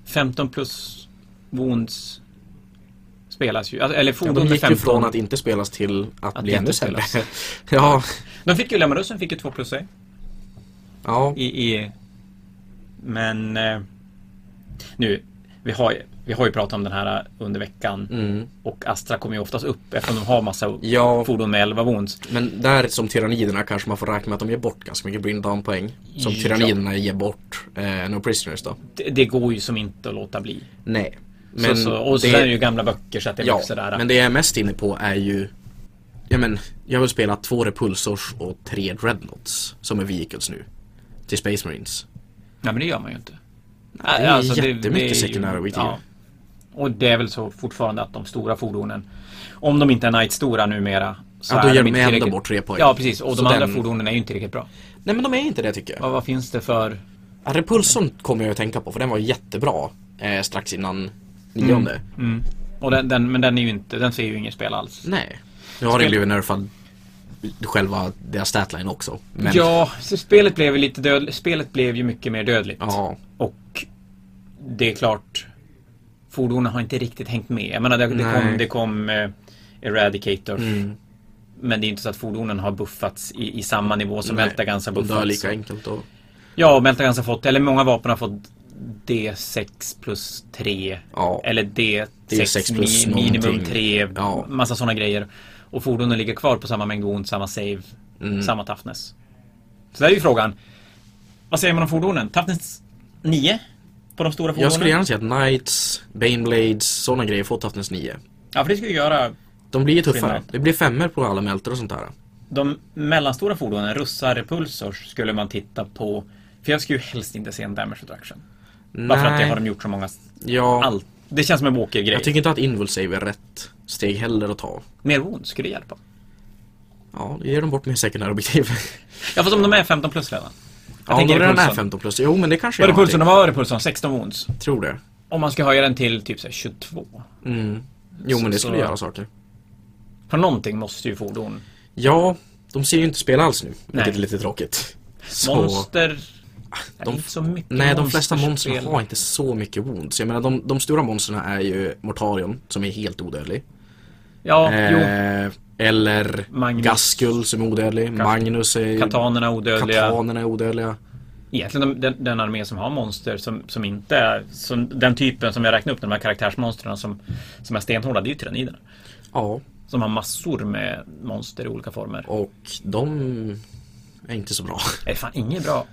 Speaker 1: 15 plus wounds spelas ju. Alltså, eller
Speaker 2: Ja,
Speaker 1: fordon
Speaker 2: de
Speaker 1: med
Speaker 2: gick ju
Speaker 1: 15.
Speaker 2: från att inte spelas till att,
Speaker 1: Att
Speaker 2: bli
Speaker 1: inte
Speaker 2: ännu sämre.
Speaker 1: spelas.
Speaker 2: ja,
Speaker 1: De fick ju Lemarussen fick ju 2 plus sig.
Speaker 2: ja.
Speaker 1: I, i, men eh, nu, vi har, ju- vi har ju pratat om den här under veckan. Och Astra kommer ju oftast upp eftersom de har massa
Speaker 2: Mm. Ja.
Speaker 1: fordon med 11 wounds.
Speaker 2: Men där som tyranniderna kanske man får räkna med att de ger bort ganska mycket bring down poäng. Som
Speaker 1: Ja.
Speaker 2: tyranniderna ger bort eh, No Prisoners då.
Speaker 1: Det, det går ju som inte att låta bli.
Speaker 2: Nej.
Speaker 1: Men så, så, och så det, är det ju gamla böcker så att det är
Speaker 2: ja,
Speaker 1: mycket sådär.
Speaker 2: men det jag är mest inne på är ju Ja men, jag vill spela två Repulsors och tre Dreadnoughts som är vehicles nu. Till Space Marines.
Speaker 1: Nej men det gör man ju inte.
Speaker 2: det är
Speaker 1: alltså,
Speaker 2: jättemycket sekundära objektiv.
Speaker 1: Och det är väl så fortfarande att de stora fordonen, om de inte är Knight-stora numera. Så
Speaker 2: Ja, då
Speaker 1: är
Speaker 2: ger
Speaker 1: de
Speaker 2: de
Speaker 1: inte
Speaker 2: ändå
Speaker 1: tillräckligt-
Speaker 2: bort tre poäng.
Speaker 1: Ja, precis. Och
Speaker 2: Så
Speaker 1: de andra
Speaker 2: den-
Speaker 1: fordonen är ju inte riktigt bra.
Speaker 2: Nej men de är inte det tycker jag.
Speaker 1: Vad, vad finns det för
Speaker 2: Repulsorn kommer jag att tänka på för den var jättebra eh, strax innan nionde.
Speaker 1: Mm. Och den, den, men den är ju inte, den ser ju inget spel alls.
Speaker 2: Nej. Nu har den blivit nerfad själva deras statline också. Men,
Speaker 1: Ja, så spelet blev ju lite död, spelet blev ju mycket mer dödligt.
Speaker 2: ja.
Speaker 1: Och det är klart, fordonen har inte riktigt hängt med. Jag menar, det, det
Speaker 2: Nej. Mm.
Speaker 1: kom, det kom eh, Eradicator. Men det är inte så att fordonen har buffats i, i samma nivå som
Speaker 2: Nej,
Speaker 1: Meltagans har
Speaker 2: De dör
Speaker 1: buffats.
Speaker 2: lika enkelt och...
Speaker 1: Ja, och Meltagans har fått, eller många vapen har fått D6 plus 3.
Speaker 2: Ja.
Speaker 1: Eller D6,
Speaker 2: D6 plus
Speaker 1: mi, minimum
Speaker 2: någonting.
Speaker 1: 3.
Speaker 2: Ja.
Speaker 1: Massa sådana grejer. Och fordonen ligger kvar på samma mängd ont, samma save,
Speaker 2: Mm.
Speaker 1: samma toughness. Så där är ju frågan. Vad säger man om fordonen? Toughness 9? På de stora fordonen?
Speaker 2: Jag skulle gärna se att Knights, Baneblades, sådana grejer får Toughness 9.
Speaker 1: Ja, för det skulle ju göra
Speaker 2: De blir ju tuffare.
Speaker 1: Skillnad.
Speaker 2: Det blir femmer på alla mälter och sånt där.
Speaker 1: De mellanstora fordonen, russar, repulsors, skulle man titta på. För jag skulle ju helst inte se en damage reduction. Bara för att det har de gjort så många...
Speaker 2: Ja,
Speaker 1: Allt. Det känns som en walker-grej.
Speaker 2: jag tycker inte att Invul Save är rätt steg heller att ta.
Speaker 1: Mer wound skulle hjälpa.
Speaker 2: Ja, då ger de bort med sekundärobjektiv.
Speaker 1: Ja, fast om de är 15 plus redan.
Speaker 2: ja, om
Speaker 1: tänker
Speaker 2: de redan är
Speaker 1: repulsorn.
Speaker 2: 15 plus. Jo, men det kanske
Speaker 1: Vad är
Speaker 2: gör
Speaker 1: repulsorn?
Speaker 2: någonting.
Speaker 1: De har repulsorn, 16 wounds.
Speaker 2: Tror det.
Speaker 1: Om man ska höja den till typ så här 22.
Speaker 2: Mm. Jo, men det
Speaker 1: Så-
Speaker 2: skulle
Speaker 1: så-
Speaker 2: göra saker.
Speaker 1: För någonting måste ju fordon.
Speaker 2: Ja, de ser ju inte spel alls nu. Vilket
Speaker 1: Nej.
Speaker 2: är lite tråkigt. Så... Ah,
Speaker 1: Monster. Ja, det är
Speaker 2: de-
Speaker 1: inte så mycket
Speaker 2: Nej, de flesta
Speaker 1: monsterspel.
Speaker 2: monstren har inte så mycket wounds. Jag menar, de, de stora monstren är ju Mortarion, som är helt odödlig.
Speaker 1: Ja, jo.
Speaker 2: Eh, eller
Speaker 1: Magnus.
Speaker 2: Gaskull som är odödlig. Magnus är ju...
Speaker 1: Katanerna odödliga.
Speaker 2: Katanerna är odödliga.
Speaker 1: Egentligen de- den, den armé som har monster som, som inte är... Som, den typen som jag räknade upp, de här karaktärsmonstren som, som är stenhårda, det är ju tyraniderna.
Speaker 2: Ja,
Speaker 1: Som har massor med monster i olika former.
Speaker 2: och de är inte så bra.
Speaker 1: Det är fan inget bra.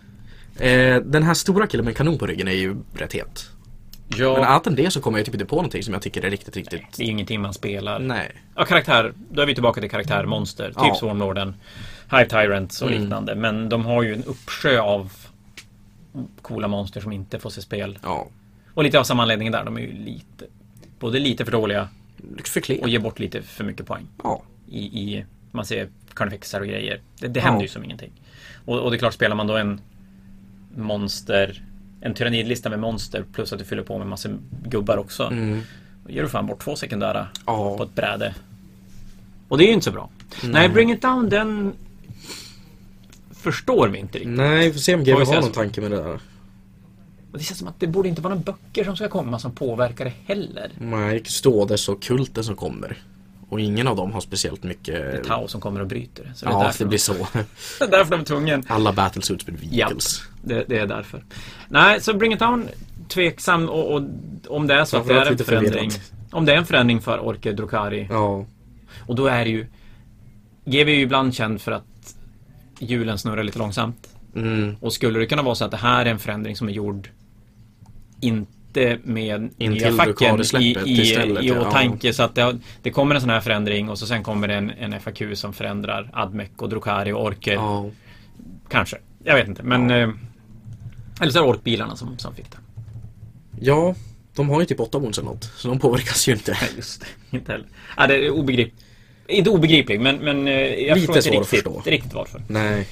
Speaker 2: Eh, den här stora killen med kanon på ryggen är ju rätt het. Men
Speaker 1: Ja,
Speaker 2: utan det så kommer jag typ inte på någonting som jag tycker är riktigt, riktigt...
Speaker 1: det är ju ingenting man spelar.
Speaker 2: Nej.
Speaker 1: Ja, karaktär. Då är vi tillbaka till karaktärmonster. Typ
Speaker 2: Ja. Mm.
Speaker 1: Swarmlorden, Hive Tyrants och liknande. Men de har ju en uppsjö av coola monster som inte får se spel.
Speaker 2: Ja.
Speaker 1: Och lite av samma anledning där. De är ju lite... Både lite för dåliga
Speaker 2: För klen.
Speaker 1: och ger bort lite för mycket poäng.
Speaker 2: Ja.
Speaker 1: I, i man ser karnefixar och grejer. Det, det händer
Speaker 2: Ja.
Speaker 1: ju som ingenting. Och, och det är klart, spelar man då en monster... En tyrannidlista med monster plus att du fyller på med massa gubbar också.
Speaker 2: Mm.
Speaker 1: Då ger du fan bort två sekundära
Speaker 2: Ja. Mm.
Speaker 1: på ett bräde. Och det är ju inte så bra. Nej, Bring It Down den förstår vi inte riktigt.
Speaker 2: Nej, vi får se om GW
Speaker 1: Får vi se
Speaker 2: har någon
Speaker 1: alltså.
Speaker 2: tanke med det där.
Speaker 1: Och det känns som att det borde inte vara några böcker som ska komma som påverkar det heller.
Speaker 2: Nej, Stådes och Kulten som kommer. Och ingen av dem har speciellt mycket...
Speaker 1: Tao som kommer och bryter det. Så det, är
Speaker 2: Ja,
Speaker 1: därför
Speaker 2: det blir
Speaker 1: de,
Speaker 2: så.
Speaker 1: det är därför de är tvungen.
Speaker 2: Alla battlesuits blir
Speaker 1: Ja,
Speaker 2: vehicles.
Speaker 1: det, det är därför. Nej, så Bring It Down tveksam och, och om det är så att det
Speaker 2: Framförallt
Speaker 1: är en
Speaker 2: lite
Speaker 1: förändring.
Speaker 2: förvirrat.
Speaker 1: Om det är en förändring för Orke Drukari.
Speaker 2: Ja.
Speaker 1: Och då är det ju... GW är ju ibland känd för att hjulen snurrar lite långsamt.
Speaker 2: Mm.
Speaker 1: Och skulle det kunna vara så att det här är en förändring som är gjord inte med
Speaker 2: In
Speaker 1: nya
Speaker 2: till
Speaker 1: facken i,
Speaker 2: Ducati-släppet
Speaker 1: i,
Speaker 2: istället,
Speaker 1: i
Speaker 2: ja.
Speaker 1: åtanke. Så att det, har- det kommer en sån här förändring och så sen kommer det en, en FAQ som förändrar Admec och Drukari och Orker.
Speaker 2: Ja.
Speaker 1: Kanske. Jag vet inte. Men, eh, eller så är det orkbilarna som, som fick det.
Speaker 2: Ja, de har ju typ 8 wounds eller något. Så de påverkas ju inte.
Speaker 1: Nej, Just det. Inte heller. Ja, det är obegripligt. Inte obegriplig, men, men eh, jag
Speaker 2: Lite
Speaker 1: förstår inte
Speaker 2: svår att
Speaker 1: riktigt,
Speaker 2: förstå.
Speaker 1: inte riktigt varför.
Speaker 2: Nej.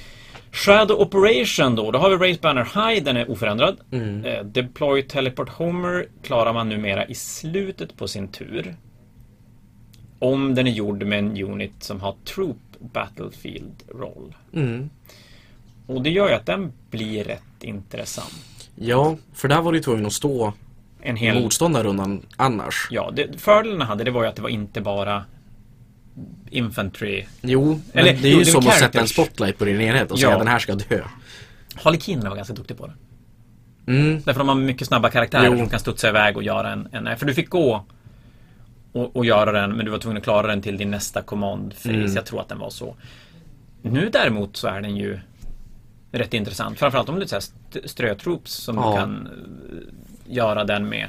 Speaker 1: Shadow Operation då, då har vi Race Banner High, den är oförändrad. Eh, Deploy Teleport Homer klarar man numera i slutet på sin tur. Om den är gjord med en unit som har Troop Battlefield roll.
Speaker 2: Mm.
Speaker 1: Och det gör ju att den blir rätt intressant.
Speaker 2: Ja, för där var du ju tvungen att stå
Speaker 1: En hel
Speaker 2: motståndarrundan annars.
Speaker 1: Ja, det, fördelen jag hade det var ju att det var inte bara Infantry.
Speaker 2: Jo, men
Speaker 1: Eller,
Speaker 2: det är
Speaker 1: jo,
Speaker 2: ju
Speaker 1: det är
Speaker 2: som
Speaker 1: väl
Speaker 2: att sätta en
Speaker 1: characters.
Speaker 2: spotlight på din enhet och
Speaker 1: Ja.
Speaker 2: säga den här ska dö.
Speaker 1: Harlekinerna var ganska duktig på det.
Speaker 2: Mm.
Speaker 1: Därför de har mycket snabba karaktärer
Speaker 2: Jo.
Speaker 1: som kan studsa iväg och göra en, en... För du fick gå och, och göra den, men du var tvungen att klara den till din nästa command phase.
Speaker 2: Mm.
Speaker 1: Jag tror att den var så. Nu däremot så är den ju rätt intressant. Framförallt om du är så här st- strötroops som
Speaker 2: Ja.
Speaker 1: du kan eh, göra den med.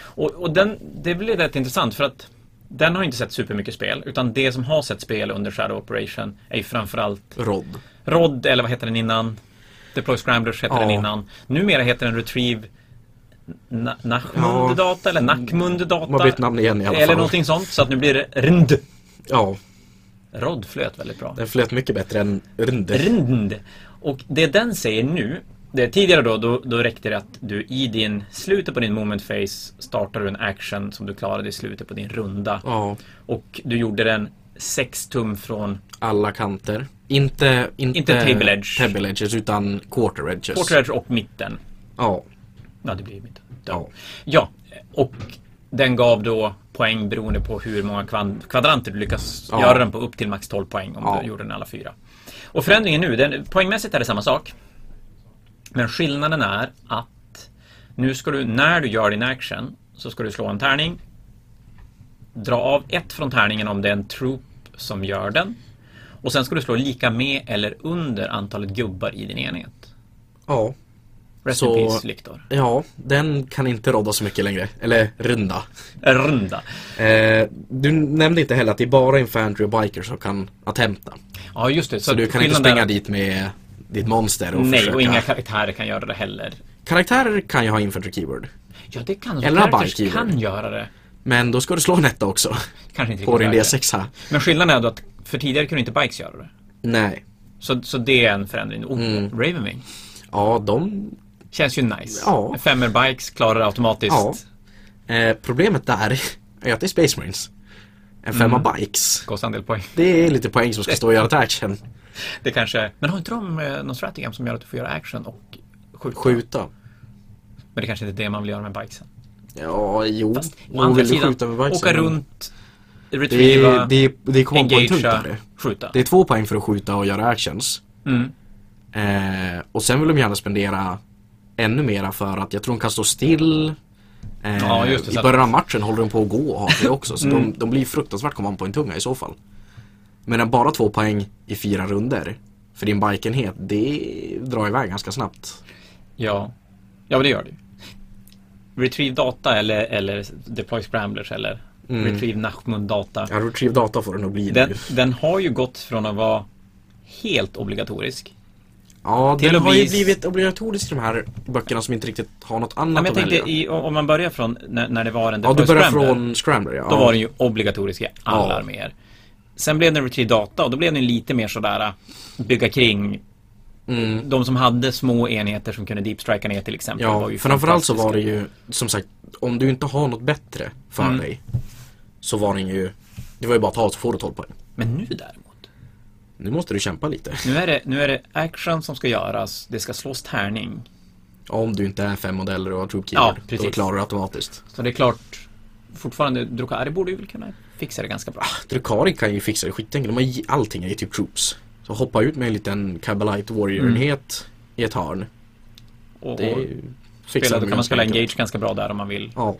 Speaker 1: Och, och den, det blir rätt intressant för att den har inte sett supermycket spel. Utan det som har sett spel under Shadow Operation är ju framförallt
Speaker 2: Rod.
Speaker 1: Rod, eller vad heter den innan? Deploy Scramblers heter
Speaker 2: Ja.
Speaker 1: den innan. Numera heter den Retrieve Na- Nachmund
Speaker 2: Ja.
Speaker 1: Data eller Nackmund
Speaker 2: De har
Speaker 1: Data.
Speaker 2: bytt namn igen i alla fall.
Speaker 1: Eller någonting sånt. Så att nu blir det RND.
Speaker 2: Ja,
Speaker 1: Rod flöt väldigt bra.
Speaker 2: den flöt mycket bättre än Rund.
Speaker 1: RND. Och det den säger nu det tidigare då, då, då räckte det att du i din slutet på din moment phase startar du en action som du klarade i slutet på din runda.
Speaker 2: Ja,
Speaker 1: Och du gjorde den 6 tum från
Speaker 2: alla kanter. Inte, inte,
Speaker 1: Inte table edge.
Speaker 2: table edges utan quarter edges.
Speaker 1: quarter edge och mitten.
Speaker 2: Ja.
Speaker 1: Ja, det blir mitten.
Speaker 2: ja.
Speaker 1: Ja, och den gav då poäng beroende på hur många kvan- kvadranter du lyckas
Speaker 2: Ja.
Speaker 1: göra den på, upp till max 12 poäng om
Speaker 2: Ja.
Speaker 1: du gjorde den alla fyra. Och förändringen nu, den, poängmässigt är det samma sak. Men skillnaden är att nu ska du, när du gör din action, så ska du slå en tärning. Dra av ett från tärningen om det är en troop som gör den. Och sen ska du slå lika med eller under antalet gubbar i din enhet.
Speaker 2: Ja.
Speaker 1: Rest
Speaker 2: Så-
Speaker 1: in peace, Liktor.
Speaker 2: Ja, den kan inte rodda så mycket längre. Eller runda.
Speaker 1: Runda.
Speaker 2: Eh, du nämnde inte heller att det är bara infantry och bikers som kan attempta.
Speaker 1: Ja, just det.
Speaker 2: Så du kan inte
Speaker 1: skillnaden är
Speaker 2: springa
Speaker 1: att-
Speaker 2: dit med ditt monster och
Speaker 1: Nej,
Speaker 2: försöka...
Speaker 1: och inga karaktärer kan göra det heller.
Speaker 2: Karaktärer kan ju ha infantry keyword.
Speaker 1: Ja, det kan
Speaker 2: Eller
Speaker 1: Eller
Speaker 2: Bikekeeper.
Speaker 1: kan göra det.
Speaker 2: Men då ska du slå en etta också.
Speaker 1: Kanske inte
Speaker 2: På din
Speaker 1: riktigt värt
Speaker 2: D6.
Speaker 1: det. Men skillnaden är då att för tidigare kunde inte Bikes göra det.
Speaker 2: Nej.
Speaker 1: Så, så det är en förändring. Oh,
Speaker 2: Mm.
Speaker 1: Ravenwing.
Speaker 2: Ja, de...
Speaker 1: Känns ju nice.
Speaker 2: Ja.
Speaker 1: Femmer Bikes klarar det automatiskt.
Speaker 2: Ja. Eh, problemet där är att det är Space Marines. En femma
Speaker 1: Mm.
Speaker 2: bikes.
Speaker 1: Kostar en del poäng.
Speaker 2: Det är lite poäng som ska stå och göra ett action.
Speaker 1: Det kanske... Men har inte de eh, någon strategam som gör att du får göra action och skjuta?
Speaker 2: Skjuta.
Speaker 1: Men det kanske inte är det man vill göra med bikesen.
Speaker 2: Ja, jo.
Speaker 1: Fast å
Speaker 2: Jo,
Speaker 1: andra
Speaker 2: vill du
Speaker 1: sidan,
Speaker 2: skjuta med bikesen?
Speaker 1: åka runt,
Speaker 2: Det,
Speaker 1: retrieva,
Speaker 2: är- det, är- det kommer en poäng tungt av
Speaker 1: engagea,
Speaker 2: det.
Speaker 1: skjuta.
Speaker 2: Det är två poäng för att skjuta och göra actions.
Speaker 1: Mm.
Speaker 2: Eh, och sen vill de gärna spendera ännu mera för att jag tror de kan stå still. Eh,
Speaker 1: Ja, just det, så
Speaker 2: I
Speaker 1: att- Mm.
Speaker 2: början av matchen håller de på att gå och har det också. Så de, de blir fruktansvärt kommandopoängtunga i så fall. Men bara två poäng i fyra runder för din bikenhet, det drar iväg ganska snabbt.
Speaker 1: Ja, ja men det gör det ju. Retrieve data eller, eller deploy scramblers eller retrieve Nachmund data.
Speaker 2: Mm. Ja, retrieve data får det nog bli
Speaker 1: Den,
Speaker 2: nu.
Speaker 1: den har ju gått från att vara helt obligatorisk.
Speaker 2: Ja,
Speaker 1: till
Speaker 2: den
Speaker 1: och
Speaker 2: har ju
Speaker 1: vis-
Speaker 2: blivit obligatorisk i de här böckerna som inte riktigt har något annat
Speaker 1: Nej, men jag
Speaker 2: att välja.
Speaker 1: tänkte i, om man börjar från när, när det var en
Speaker 2: Ja,
Speaker 1: deploy
Speaker 2: du börjar
Speaker 1: scrambler.
Speaker 2: från Scrambler ja.
Speaker 1: Då var den ju obligatorisk i alla
Speaker 2: Ja.
Speaker 1: arméer. Sen blev den retrieve data och då blev den lite mer sådär äh, bygga kring. De som hade små enheter som kunde deepstrika ner till exempel. var
Speaker 2: Mm. Ja,
Speaker 1: ju
Speaker 2: framförallt så var det
Speaker 1: fantastiska. Mm.
Speaker 2: ju som sagt om du inte har något bättre för dig så var den ju det var ju bara att ta så får du 12 poäng.
Speaker 1: Men nu däremot.
Speaker 2: Nu måste du kämpa lite.
Speaker 1: Nu är, det, nu är det action som ska göras, det ska slås tärning.
Speaker 2: Om du inte är fem modeller och har troop
Speaker 1: Ja,
Speaker 2: keyword, då
Speaker 1: precis.
Speaker 2: klarar du automatiskt.
Speaker 1: Så det är klart, fortfarande, Drukari borde ju väl kunna fixa det ganska bra.
Speaker 2: Ah, Drukari kan ju fixa det skitenkelt. De har ju- Allting är ju typ troops. Så hoppa ut med en liten Kabbalite Warrior-enhet
Speaker 1: Mm.
Speaker 2: i ett hörn.
Speaker 1: Och,
Speaker 2: Det
Speaker 1: och
Speaker 2: fixar
Speaker 1: spela,
Speaker 2: de
Speaker 1: då
Speaker 2: ju
Speaker 1: kan man spela
Speaker 2: ganska enkelt.
Speaker 1: engage ganska bra där om man vill.
Speaker 2: Ja.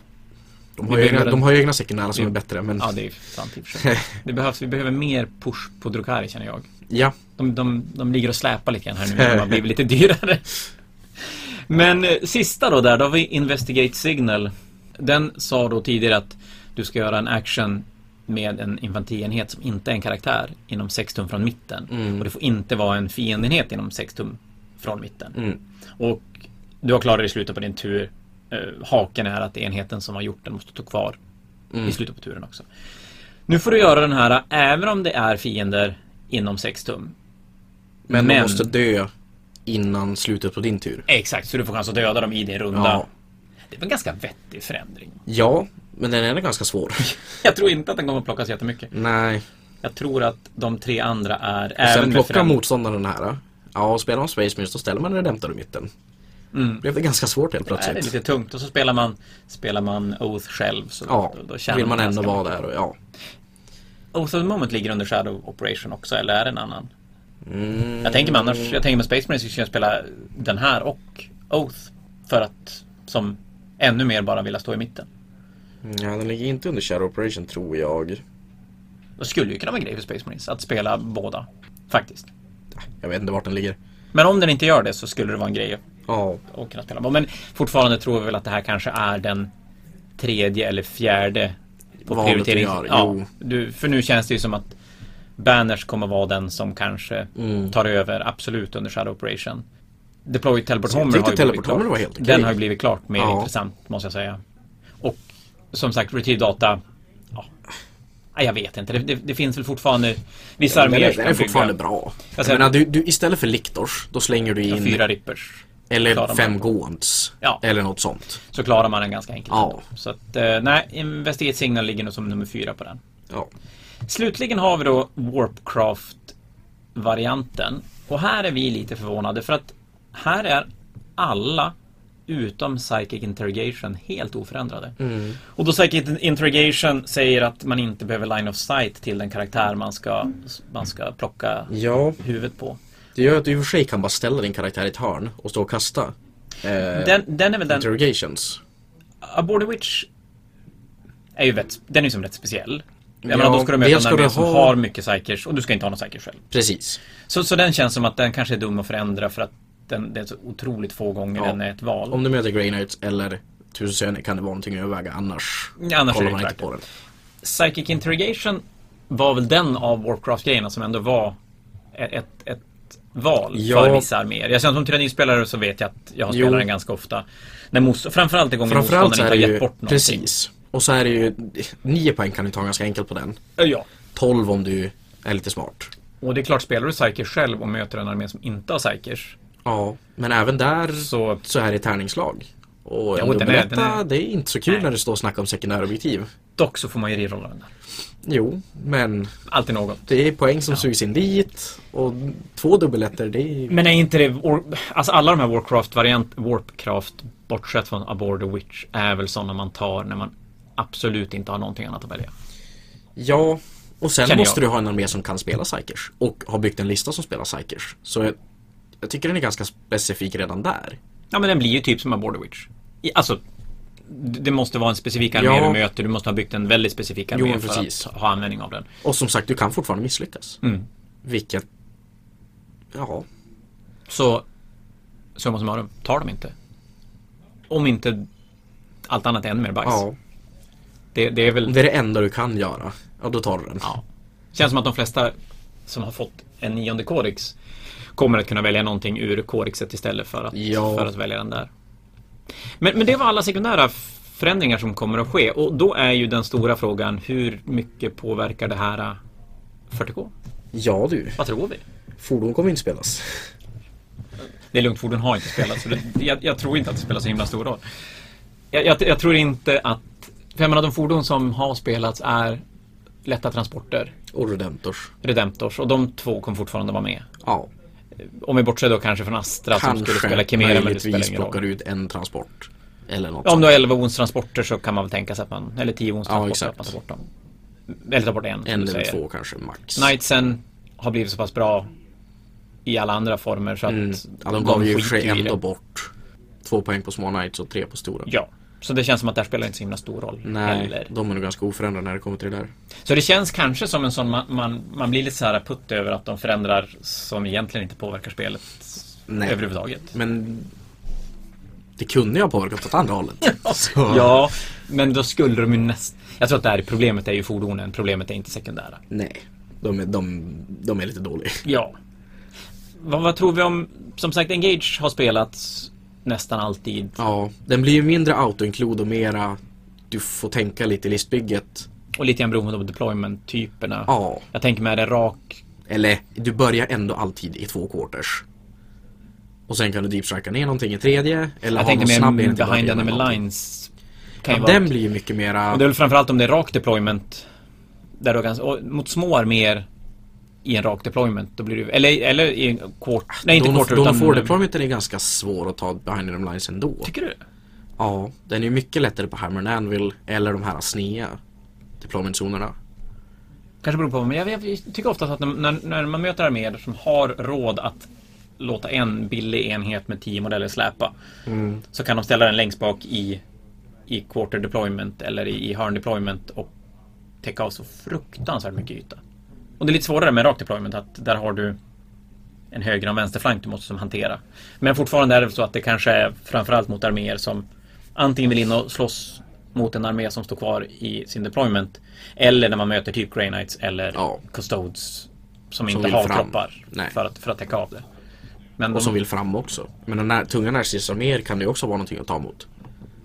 Speaker 2: De
Speaker 1: Vi
Speaker 2: har, ju
Speaker 1: bygger
Speaker 2: egna,
Speaker 1: en-
Speaker 2: de har ju egna sekundära som
Speaker 1: Vi-
Speaker 2: är bättre men
Speaker 1: Ja, det är ju sant i och för sig. Det behövs, vi behöver mer push på Drukari känner jag.
Speaker 2: ja.
Speaker 1: De, de, de ligger och släpar lite grann här nu när de har blivit lite dyrare. Men eh, sista då där, då har vi Investigate Signal. Den sa då tidigare att du ska göra en action med en infanterienhet som inte är en karaktär inom 6 tum från mitten. Och det får inte vara en fiendenhet inom 6 tum från mitten.
Speaker 2: Mm.
Speaker 1: Och du har klarat det i slutet på din tur. Eh, Haken är att enheten som har gjort den måste stå kvar i slutet på turen också. Nu får du göra den här även om det är fiender inom 6 tum.
Speaker 2: Men, de
Speaker 1: Men-
Speaker 2: måste dö innan slutet på din tur.
Speaker 1: Exakt, så du får chans att döda dem i din runda.
Speaker 2: Ja.
Speaker 1: Det var en ganska vettig förändring.
Speaker 2: Ja, men den är ganska svår.
Speaker 1: Jag tror inte att den kommer att plockas jättemycket.
Speaker 2: Nej.
Speaker 1: Jag tror att de tre andra är,
Speaker 2: Sen
Speaker 1: även med
Speaker 2: plockar
Speaker 1: förändring...
Speaker 2: motståndaren den här. ja. Ja, och spelar man Space Marines då ställer man en Redemptor i mitten. Blev det ganska svårt helt
Speaker 1: Mm. Nej, det är
Speaker 2: plötsligt.
Speaker 1: lite tungt och så spelar man, spelar man Oath själv. Så
Speaker 2: Ja,
Speaker 1: då, då tjänar
Speaker 2: vill man ändå
Speaker 1: ganska
Speaker 2: vara där och ja.
Speaker 1: mycket. Oath of the Moment ligger under Shadow Operation också, eller är det en annan?
Speaker 2: Mm.
Speaker 1: Jag tänker mig annars, jag tänker med Space Marines skulle jag spela den här och Oath. För att, som ännu mer bara vilja stå i mitten.
Speaker 2: Ja, den ligger inte under Shadow Operation tror jag.
Speaker 1: Det skulle ju kunna vara en grej för Space Marines, att spela båda. Faktiskt.
Speaker 2: Jag vet inte vart den ligger.
Speaker 1: Men om den inte gör det så skulle det vara en grej
Speaker 2: Ja,
Speaker 1: att kunna spela. Men fortfarande tror vi väl att det här kanske är den tredje eller fjärde på
Speaker 2: Valet vi
Speaker 1: prioritering.
Speaker 2: gör,
Speaker 1: Ja,
Speaker 2: jo.
Speaker 1: du, för nu känns det ju som att Banners kommer vara den som kanske
Speaker 2: Mm.
Speaker 1: tar över absolut under Shadow Operation. Deploy Teleport Homer
Speaker 2: tyckte
Speaker 1: har ju
Speaker 2: Teleport
Speaker 1: blivit klart.
Speaker 2: Homer var helt okej.
Speaker 1: Den har ju blivit klart mer
Speaker 2: Ja.
Speaker 1: intressant måste jag säga. Och som sagt, Retrieve Data. Ja. Nej, jag vet inte. Det, det, det finns väl fortfarande vissa
Speaker 2: den
Speaker 1: arméer
Speaker 2: är,
Speaker 1: som
Speaker 2: den är
Speaker 1: kan
Speaker 2: fortfarande
Speaker 1: bygga
Speaker 2: bra. Jag
Speaker 1: säger-
Speaker 2: menar, du, du, istället för Liktors, då slänger du in
Speaker 1: Alltså- fyra rippers. klarar
Speaker 2: Eller
Speaker 1: man
Speaker 2: fem
Speaker 1: det.
Speaker 2: gåends.
Speaker 1: Ja.
Speaker 2: Eller något sånt.
Speaker 1: så klarar man den ganska enkelt.
Speaker 2: Ja.
Speaker 1: ändå. Så att, eh, nej, Investigate Signal ligger nog som nummer fyra på den.
Speaker 2: Ja.
Speaker 1: Slutligen har vi då Warpcraft-varianten. Och här är vi lite förvånade för att här är alla utom Psychic Interrogation helt oförändrade.
Speaker 2: Mm.
Speaker 1: Och då Psychic Interrogation säger att man inte behöver line of sight till den karaktär man ska, man ska plocka
Speaker 2: ja,
Speaker 1: huvudet på.
Speaker 2: det gör att du i och för sig kan bara ställa din karaktär i ett hörn och stå och kasta. Eh,
Speaker 1: Den, den är väl den...
Speaker 2: interrogations.
Speaker 1: A Border Witch är ju rätt, den är ju som rätt speciell. Jag
Speaker 2: Ja,
Speaker 1: menar, då ska du möta
Speaker 2: dels
Speaker 1: en
Speaker 2: ska du
Speaker 1: armé som
Speaker 2: ha-
Speaker 1: har mycket psykers och du ska inte ha någon psyker själv.
Speaker 2: Precis.
Speaker 1: Så, så den känns som att den kanske är dum att förändra för att den, det är så otroligt få gånger
Speaker 2: Ja.
Speaker 1: den är ett val.
Speaker 2: Om du möter Grey Knights eller Tusen Söner kan det vara någonting att överväga annars
Speaker 1: Ja, annars är
Speaker 2: kollar
Speaker 1: det
Speaker 2: man inte
Speaker 1: klart.
Speaker 2: på den.
Speaker 1: Psychic Interrogation var väl den av Warcraft-grejerna som ändå var ett, ett, ett val
Speaker 2: Ja.
Speaker 1: för vissa arméer. Jag känner som tyrannispelare så vet jag att jag har
Speaker 2: Jo.
Speaker 1: spelat den ganska ofta. När most- framförallt de gånger
Speaker 2: Framförallt så är det
Speaker 1: motståndaren inte har
Speaker 2: ju,
Speaker 1: gett bort någonting.
Speaker 2: precis. Och så är det ju, 9 poäng kan du ta ganska enkelt på den.
Speaker 1: Ja.
Speaker 2: 12 om du är lite smart.
Speaker 1: Och det är klart, spelar du psyker själv och möter en armé som inte har psykers
Speaker 2: Ja, men även där så,
Speaker 1: så
Speaker 2: är det tärningslag. Och en
Speaker 1: Jo, den är-
Speaker 2: dubbeletta,
Speaker 1: den är-
Speaker 2: det är inte så kul
Speaker 1: Nej.
Speaker 2: när det står och snackar om sekundärobjektiv.
Speaker 1: dock så får man ju rerolla den där.
Speaker 2: Jo, men
Speaker 1: Alltid något.
Speaker 2: det är poäng som sugs in dit och två dubbeletter, det är
Speaker 1: Men är inte det... War- Alltså alla de här Warcraft-variant... Warcraft, bortsett från Abort the Witch, är väl sådana man tar när man absolut inte har någonting annat att välja.
Speaker 2: Ja, och sen
Speaker 1: Känner
Speaker 2: måste
Speaker 1: jag.
Speaker 2: du ha en armé som kan spela psykers och har byggt en lista som spelar psykers. Så jag, jag tycker den är ganska specifik redan där.
Speaker 1: Ja, men den blir ju typ som Abort the Witch. I, alltså... d- Det måste vara en specifik armé
Speaker 2: Ja.
Speaker 1: du möter. Du måste ha byggt en väldigt specifik armé
Speaker 2: Jo,
Speaker 1: för
Speaker 2: precis.
Speaker 1: att ha användning av den.
Speaker 2: Och som sagt, du kan fortfarande misslyckas.
Speaker 1: Mm.
Speaker 2: Vilket, ja,
Speaker 1: Så... Summa summarum, tar de inte. Om inte allt annat är ännu mer bajs.
Speaker 2: ja.
Speaker 1: Det, det är väl...
Speaker 2: Om det är det enda du kan göra, ja då tar du den.
Speaker 1: Ja. Känns som att de flesta som har fått en nionde kodex kommer att kunna välja någonting ur kodexet istället för att,
Speaker 2: Ja.
Speaker 1: för att välja den där. Men, men det var alla sekundära f- förändringar som kommer att ske och då är ju den stora frågan hur mycket påverkar det här eh, 40K?
Speaker 2: ja du,
Speaker 1: Vad tror vi?
Speaker 2: fordon kommer inte spelas.
Speaker 1: Det är lugnt, fordon har inte spelat så det, jag, jag tror inte att det spelar så himla stor roll. Jag, jag, jag tror inte att... För jag menar de fordon som har spelats är lätta transporter,
Speaker 2: Och Redemptors.
Speaker 1: Redemptors och de två kommer fortfarande vara med.
Speaker 2: Ja.
Speaker 1: Om vi bortser då kanske från Astra som skulle spela Chimera men det spelar
Speaker 2: möjligtvis
Speaker 1: ingen roll.
Speaker 2: plockar ut en transport. Eller något.
Speaker 1: Ja, Om du har 11 onstransporter så kan man väl tänka sig att man, eller 10
Speaker 2: Ja,
Speaker 1: onstransporter
Speaker 2: exakt.
Speaker 1: att man tar bort dem. Eller tar bort en. som
Speaker 2: en
Speaker 1: du
Speaker 2: eller
Speaker 1: säger.
Speaker 2: två kanske max.
Speaker 1: Knightsen har blivit så pass bra i alla andra former så att
Speaker 2: Mm. Ja, de gav ju i och för sig
Speaker 1: skiter i det.
Speaker 2: ändå bort två poäng på små knights och tre på stora.
Speaker 1: Ja. Så det känns som att det här spelar inte så himla stor roll
Speaker 2: Nej,
Speaker 1: heller.
Speaker 2: de är nog ganska oförändrade när det kommer till det där.
Speaker 1: Så det känns kanske som en sån man, man, man blir lite så här putt över att de förändrar som egentligen inte påverkar spelet
Speaker 2: Nej.
Speaker 1: överhuvudtaget.
Speaker 2: Men det kunde ju ha påverkat åt andra hållet. Så,
Speaker 1: Ja, men då skulle de ju näst... Jag tror att det här problemet är ju fordonen, problemet är inte sekundära.
Speaker 2: Nej, de är, de, de är lite dåliga.
Speaker 1: Ja. Vad, vad tror vi om... Som sagt, Engage har spelats nästan alltid.
Speaker 2: Ja, den blir ju mindre auto-include och mera du får tänka lite i listbygget.
Speaker 1: Och lite grann beroende på deployment-typerna.
Speaker 2: Ja,
Speaker 1: Jag tänker mig det rak...
Speaker 2: Eller, du börjar ändå alltid i två quarters. Och sen kan du deepstrika ner någonting i tredje. Eller
Speaker 1: Jag
Speaker 2: ha någon
Speaker 1: tänker
Speaker 2: snabb
Speaker 1: mig
Speaker 2: enhet i
Speaker 1: behind
Speaker 2: början eller
Speaker 1: enemy
Speaker 2: någonting.
Speaker 1: lines. Kan ju
Speaker 2: Ja,
Speaker 1: vara...
Speaker 2: Den blir ju mycket
Speaker 1: Och Det är
Speaker 2: mera...
Speaker 1: väl framförallt om det är rak deployment. Där du kan... och Mot små arméer i en rak deployment. Då blir det... Eller, eller i en quart... Nej, inte
Speaker 2: Dawn of-
Speaker 1: quarter
Speaker 2: Dawn of
Speaker 1: utan...
Speaker 2: War deploymenten är ganska svår att ta behind enemy lines ändå.
Speaker 1: Tycker du?
Speaker 2: Ja, den är ju mycket lättare på Hammer and Anvil eller de här snea deploymentzonerna.
Speaker 1: Kanske beror på, men jag, jag tycker oftast att när, när, när man möter arméer som har råd att låta en billig enhet med 10 modeller släpa. Så kan de ställa den längst bak i, i quarter deployment eller i, i hörn deployment och täcka av så fruktansvärt mycket yta. Och det är lite svårare med rakt deployment att där har du en höger och en vänsterflank du måste som hantera. Men fortfarande är det så att det kanske är framförallt mot arméer som antingen vill in och slåss mot en armé som står kvar i sin deployment. Eller när man möter typ Grey Knights eller
Speaker 2: Ja.
Speaker 1: Custodes. Som, inte
Speaker 2: vill
Speaker 1: har
Speaker 2: fram.
Speaker 1: kroppar
Speaker 2: Nej.
Speaker 1: för att, för att täcka av det. Men
Speaker 2: Och
Speaker 1: de,
Speaker 2: som vill fram också. Men den här tunga närstridsarméer kan det ju också vara någonting att ta emot.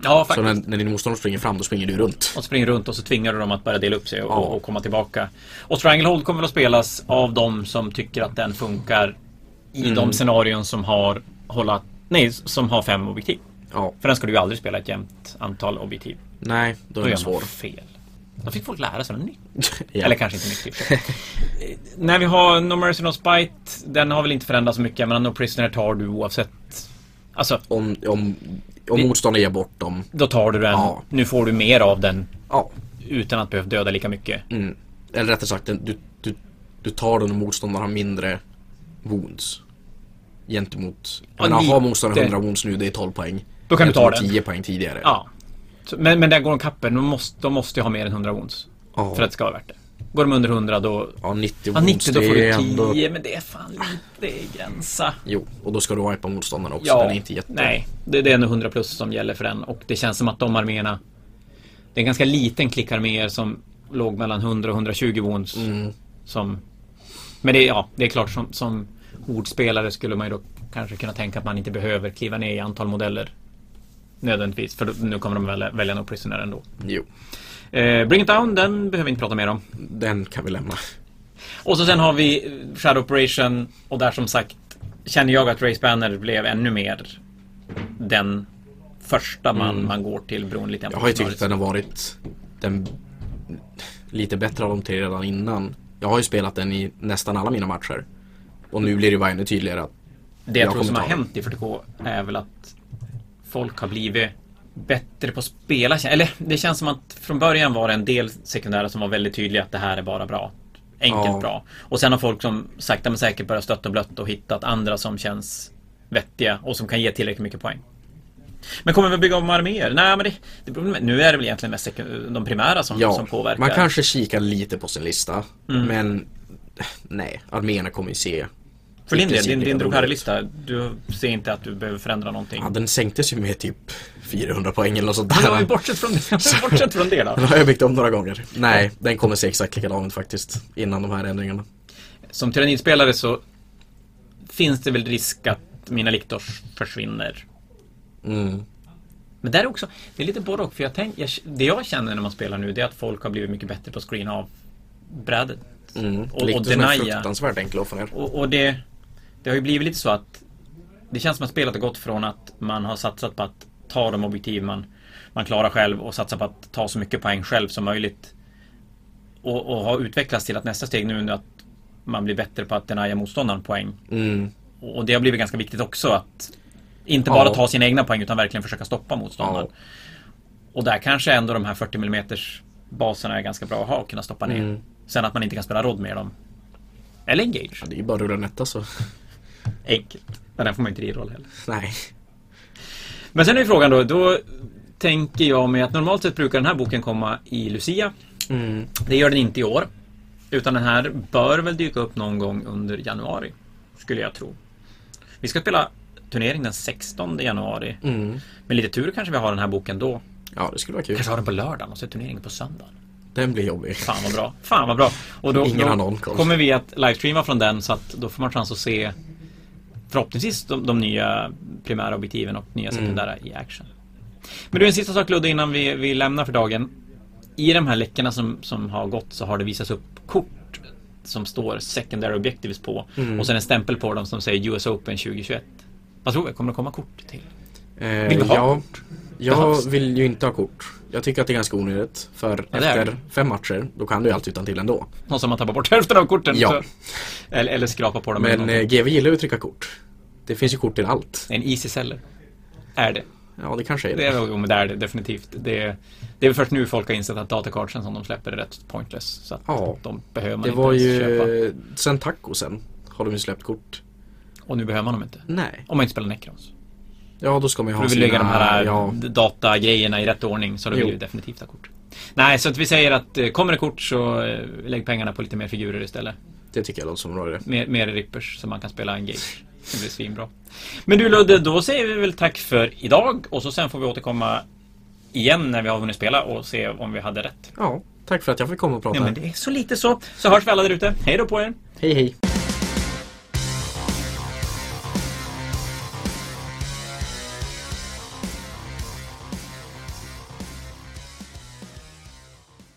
Speaker 1: ja,
Speaker 2: Så
Speaker 1: faktiskt.
Speaker 2: när, när din motståndare springer fram, då springer du runt.
Speaker 1: Och springer runt och så tvingar du dem att börja dela upp sig och,
Speaker 2: Ja.
Speaker 1: och komma tillbaka. Och Stranglehold kommer väl att
Speaker 2: Mm.
Speaker 1: spelas av de som tycker att den funkar i de scenarion som har hålla Nej, som har fem objektiv.
Speaker 2: Ja,
Speaker 1: För den ska du ju aldrig spela ett jämnt antal objektiv.
Speaker 2: nej, då är
Speaker 1: Då
Speaker 2: den
Speaker 1: gör man
Speaker 2: Mm, svår.
Speaker 1: fel. Då fick folk lära sig något nytt.
Speaker 2: ja.
Speaker 1: Eller kanske inte mycket i och för sig. Eh, När vi har No Mercy No Spite, den har väl inte förändrats så mycket. Men No Prisoner tar du oavsett. Alltså,
Speaker 2: Om, om, om motståndaren ger bort dem.
Speaker 1: då tar du den.
Speaker 2: Ja.
Speaker 1: Nu får du mer av den
Speaker 2: Ja.
Speaker 1: utan att behöva döda lika mycket.
Speaker 2: Mm. Eller rättare sagt, den- du, du, du tar den och motståndaren har mindre wounds. Gentemot...
Speaker 1: Ja,
Speaker 2: Jag menar,
Speaker 1: lite.
Speaker 2: har motståndaren 100 wounds nu, det är 12 poäng.
Speaker 1: Då kan du ta
Speaker 2: Gentemot
Speaker 1: den.
Speaker 2: 10 poäng tidigare.
Speaker 1: Ja. Så- Men, men där går de kapper. De måste, de måste ju ha mer än 100 wounds.
Speaker 2: Ja.
Speaker 1: För att det ska vara värt det. Går de under 100 då...
Speaker 2: Ja, 90
Speaker 1: Ja, 90 då
Speaker 2: det
Speaker 1: får du 10.
Speaker 2: är ändå-
Speaker 1: Men det är fan lite. ah. Det är gränsa.
Speaker 2: Jo, och då ska du wipa motståndaren också.
Speaker 1: Ja,
Speaker 2: Den är inte jätte...
Speaker 1: nej. Det, det är nog 100 plus som gäller för den och det känns som att de arméerna Det är en ganska liten klick arméer som låg mellan 100 och 120 wounds.
Speaker 2: Mm.
Speaker 1: Som, men det, är- ja, det är klart som, som hordspelare skulle man ju då kanske kunna tänka att man inte behöver kliva ner i antal modeller. Nödvändigtvis, för då, nu kommer de välja, välja No Prisoner ändå.
Speaker 2: Jo,
Speaker 1: Eh, Bring It Down, den behöver vi inte prata mer om.
Speaker 2: den kan vi lämna.
Speaker 1: Och så sen har vi eh, Shadow Operation och där som sagt känner jag att Race Banner blev ännu mer den första man, man går till beroende lite grann på
Speaker 2: Mm. Jag har ju tyckt
Speaker 1: scenariot.
Speaker 2: att den har varit den lite bättre av de tre redan innan. Jag har ju spelat den i nästan alla mina matcher. Och nu blir det ju bara ännu tydligare att
Speaker 1: Det jag,
Speaker 2: jag
Speaker 1: tror som har
Speaker 2: kommer ta
Speaker 1: hänt i 40K är väl att folk har blivit bättre på att spela. Eller det känns som att från början var det en del sekundära som var väldigt tydliga att det här är bara bra. Enkelt
Speaker 2: Ja.
Speaker 1: bra. Och sen har folk som sakta men säkert börjat stötta och blött och hittat andra som känns vettiga och som kan ge tillräckligt mycket poäng. Men kommer vi bygga om arméer? Nej, men det, det, beror- nu är det väl egentligen mest sekund- de primära som, som påverkar. Mm.
Speaker 2: man kanske kikar lite på sin lista. Men nej, arméerna kommer ju se.
Speaker 1: För din
Speaker 2: i
Speaker 1: del,
Speaker 2: princip
Speaker 1: din, din
Speaker 2: lika bra ut.
Speaker 1: Drukari-lista, du ser inte att du behöver förändra någonting?
Speaker 2: Ja, den sänktes ju med typ 400 poäng eller något sånt
Speaker 1: Ja, men
Speaker 2: där.
Speaker 1: bortsett från det, bortsett från det då.
Speaker 2: Den har jag byggt om några gånger. Nej, den kommer se exakt likadan ut faktiskt. Innan de här ändringarna.
Speaker 1: Som tyrannidspelare så finns det väl risk att mina liktors försvinner.
Speaker 2: Mm.
Speaker 1: Men där är också, det är lite både och. För jag tänk, jag, det jag känner när man spelar nu det är att folk har blivit mycket bättre på att screena av brädet.
Speaker 2: Mm.
Speaker 1: Och- och
Speaker 2: Liktorsen är
Speaker 1: Denaya.
Speaker 2: fruktansvärt enkel att få ner.
Speaker 1: Och, och det, det har ju blivit lite så att det känns som att spelet har gått från att man har satsat på att ta de objektiv man, man klarar själv och satsa på att ta så mycket poäng själv som möjligt. Och, och har utvecklats till att nästa steg nu är att man blir bättre på att denia motståndaren poäng.
Speaker 2: Mm.
Speaker 1: Och det har blivit ganska viktigt också att inte
Speaker 2: Ja.
Speaker 1: bara ta sina egna poäng utan verkligen försöka stoppa motståndaren.
Speaker 2: Ja.
Speaker 1: Och där kanske ändå de här 40 mm baserna är ganska bra att ha och kunna stoppa ner.
Speaker 2: Mm.
Speaker 1: Sen att man inte kan spela rodd med dem. Eller engage.
Speaker 2: Ja, det är ju bara rullanetta så.
Speaker 1: Enkelt. Men den får man ju inte i roll heller.
Speaker 2: Nej.
Speaker 1: Men sen är ju frågan då, då tänker jag mig att normalt sett brukar den här boken komma i Lucia.
Speaker 2: Mm.
Speaker 1: Det gör den inte i år. Utan den här bör väl dyka upp någon gång under januari. Skulle jag tro. Vi ska spela turnering den 16 januari.
Speaker 2: Mm.
Speaker 1: Med lite tur kanske vi har den här boken då.
Speaker 2: Ja, det skulle vara kul.
Speaker 1: Kanske har den på lördagen och så är turneringen på söndagen.
Speaker 2: Den blir jobbig.
Speaker 1: Fan vad bra. Fan vad bra. Och då,
Speaker 2: Ingen har
Speaker 1: då
Speaker 2: någon koll.
Speaker 1: kommer vi att livestreama från den så att då får man chans att se förhoppningsvis de, de nya primära objektiven och nya
Speaker 2: Mm.
Speaker 1: sekundära i action. Men du, en sista sak Ludde innan vi, vi lämnar för dagen. I de här läckorna som, som har gått så har det visats upp kort som står secondary objectives på
Speaker 2: Mm.
Speaker 1: och sen en stämpel på dem som säger US Open 2021. Vad tror vi? Kommer det komma kort till?
Speaker 2: Eh,
Speaker 1: Vill du ha
Speaker 2: jag,
Speaker 1: Behövs.
Speaker 2: jag vill ju inte ha kort. Jag tycker att det är ganska onödigt. För
Speaker 1: Ja, det Mm. är
Speaker 2: efter fem matcher, då kan du ju allt utan till ändå.
Speaker 1: Någon som har tappat bort hälften av korten?
Speaker 2: Ja.
Speaker 1: så- eller, eller skrapa på dem. eller
Speaker 2: Men
Speaker 1: någonting.
Speaker 2: eh, GV gillar ju att trycka kort. Det finns ju kort till allt.
Speaker 1: En easy seller. Är det.
Speaker 2: Ja, det kanske är
Speaker 1: Det
Speaker 2: det.
Speaker 1: är, jo, men det, är det definitivt. Det är, det är väl först nu folk har insett att datacardsen som de släpper är rätt pointless. Så att
Speaker 2: Ja.
Speaker 1: de behöver man
Speaker 2: Det
Speaker 1: inte
Speaker 2: var
Speaker 1: ens
Speaker 2: ju...
Speaker 1: köpa.
Speaker 2: Sen tacosen har de ju släppt kort.
Speaker 1: Och nu behöver man dem inte.
Speaker 2: Nej.
Speaker 1: Om man inte spelar Necrons.
Speaker 2: Ja, då ska man ju
Speaker 1: För
Speaker 2: ha
Speaker 1: du vill lägga de här
Speaker 2: Ja,
Speaker 1: datagrejerna i rätt ordning så då vill
Speaker 2: Jo.
Speaker 1: du definitivt ha kort. Nej, så att vi säger att eh, kommer det kort så eh, lägg pengarna på lite mer figurer istället.
Speaker 2: det tycker jag låter som en bra idé.
Speaker 1: Mer, mer rippers så man kan spela en gage. Det blir svinbra. Men du Ludde, då säger vi väl tack för idag och så sen får vi återkomma igen när vi har hunnit spela och se om vi hade rätt.
Speaker 2: Ja, tack för att jag fick komma och prata.
Speaker 1: Ja, men det är så lite så. Så hörs vi alla där ute. Hej då på er!
Speaker 2: Hej, hej.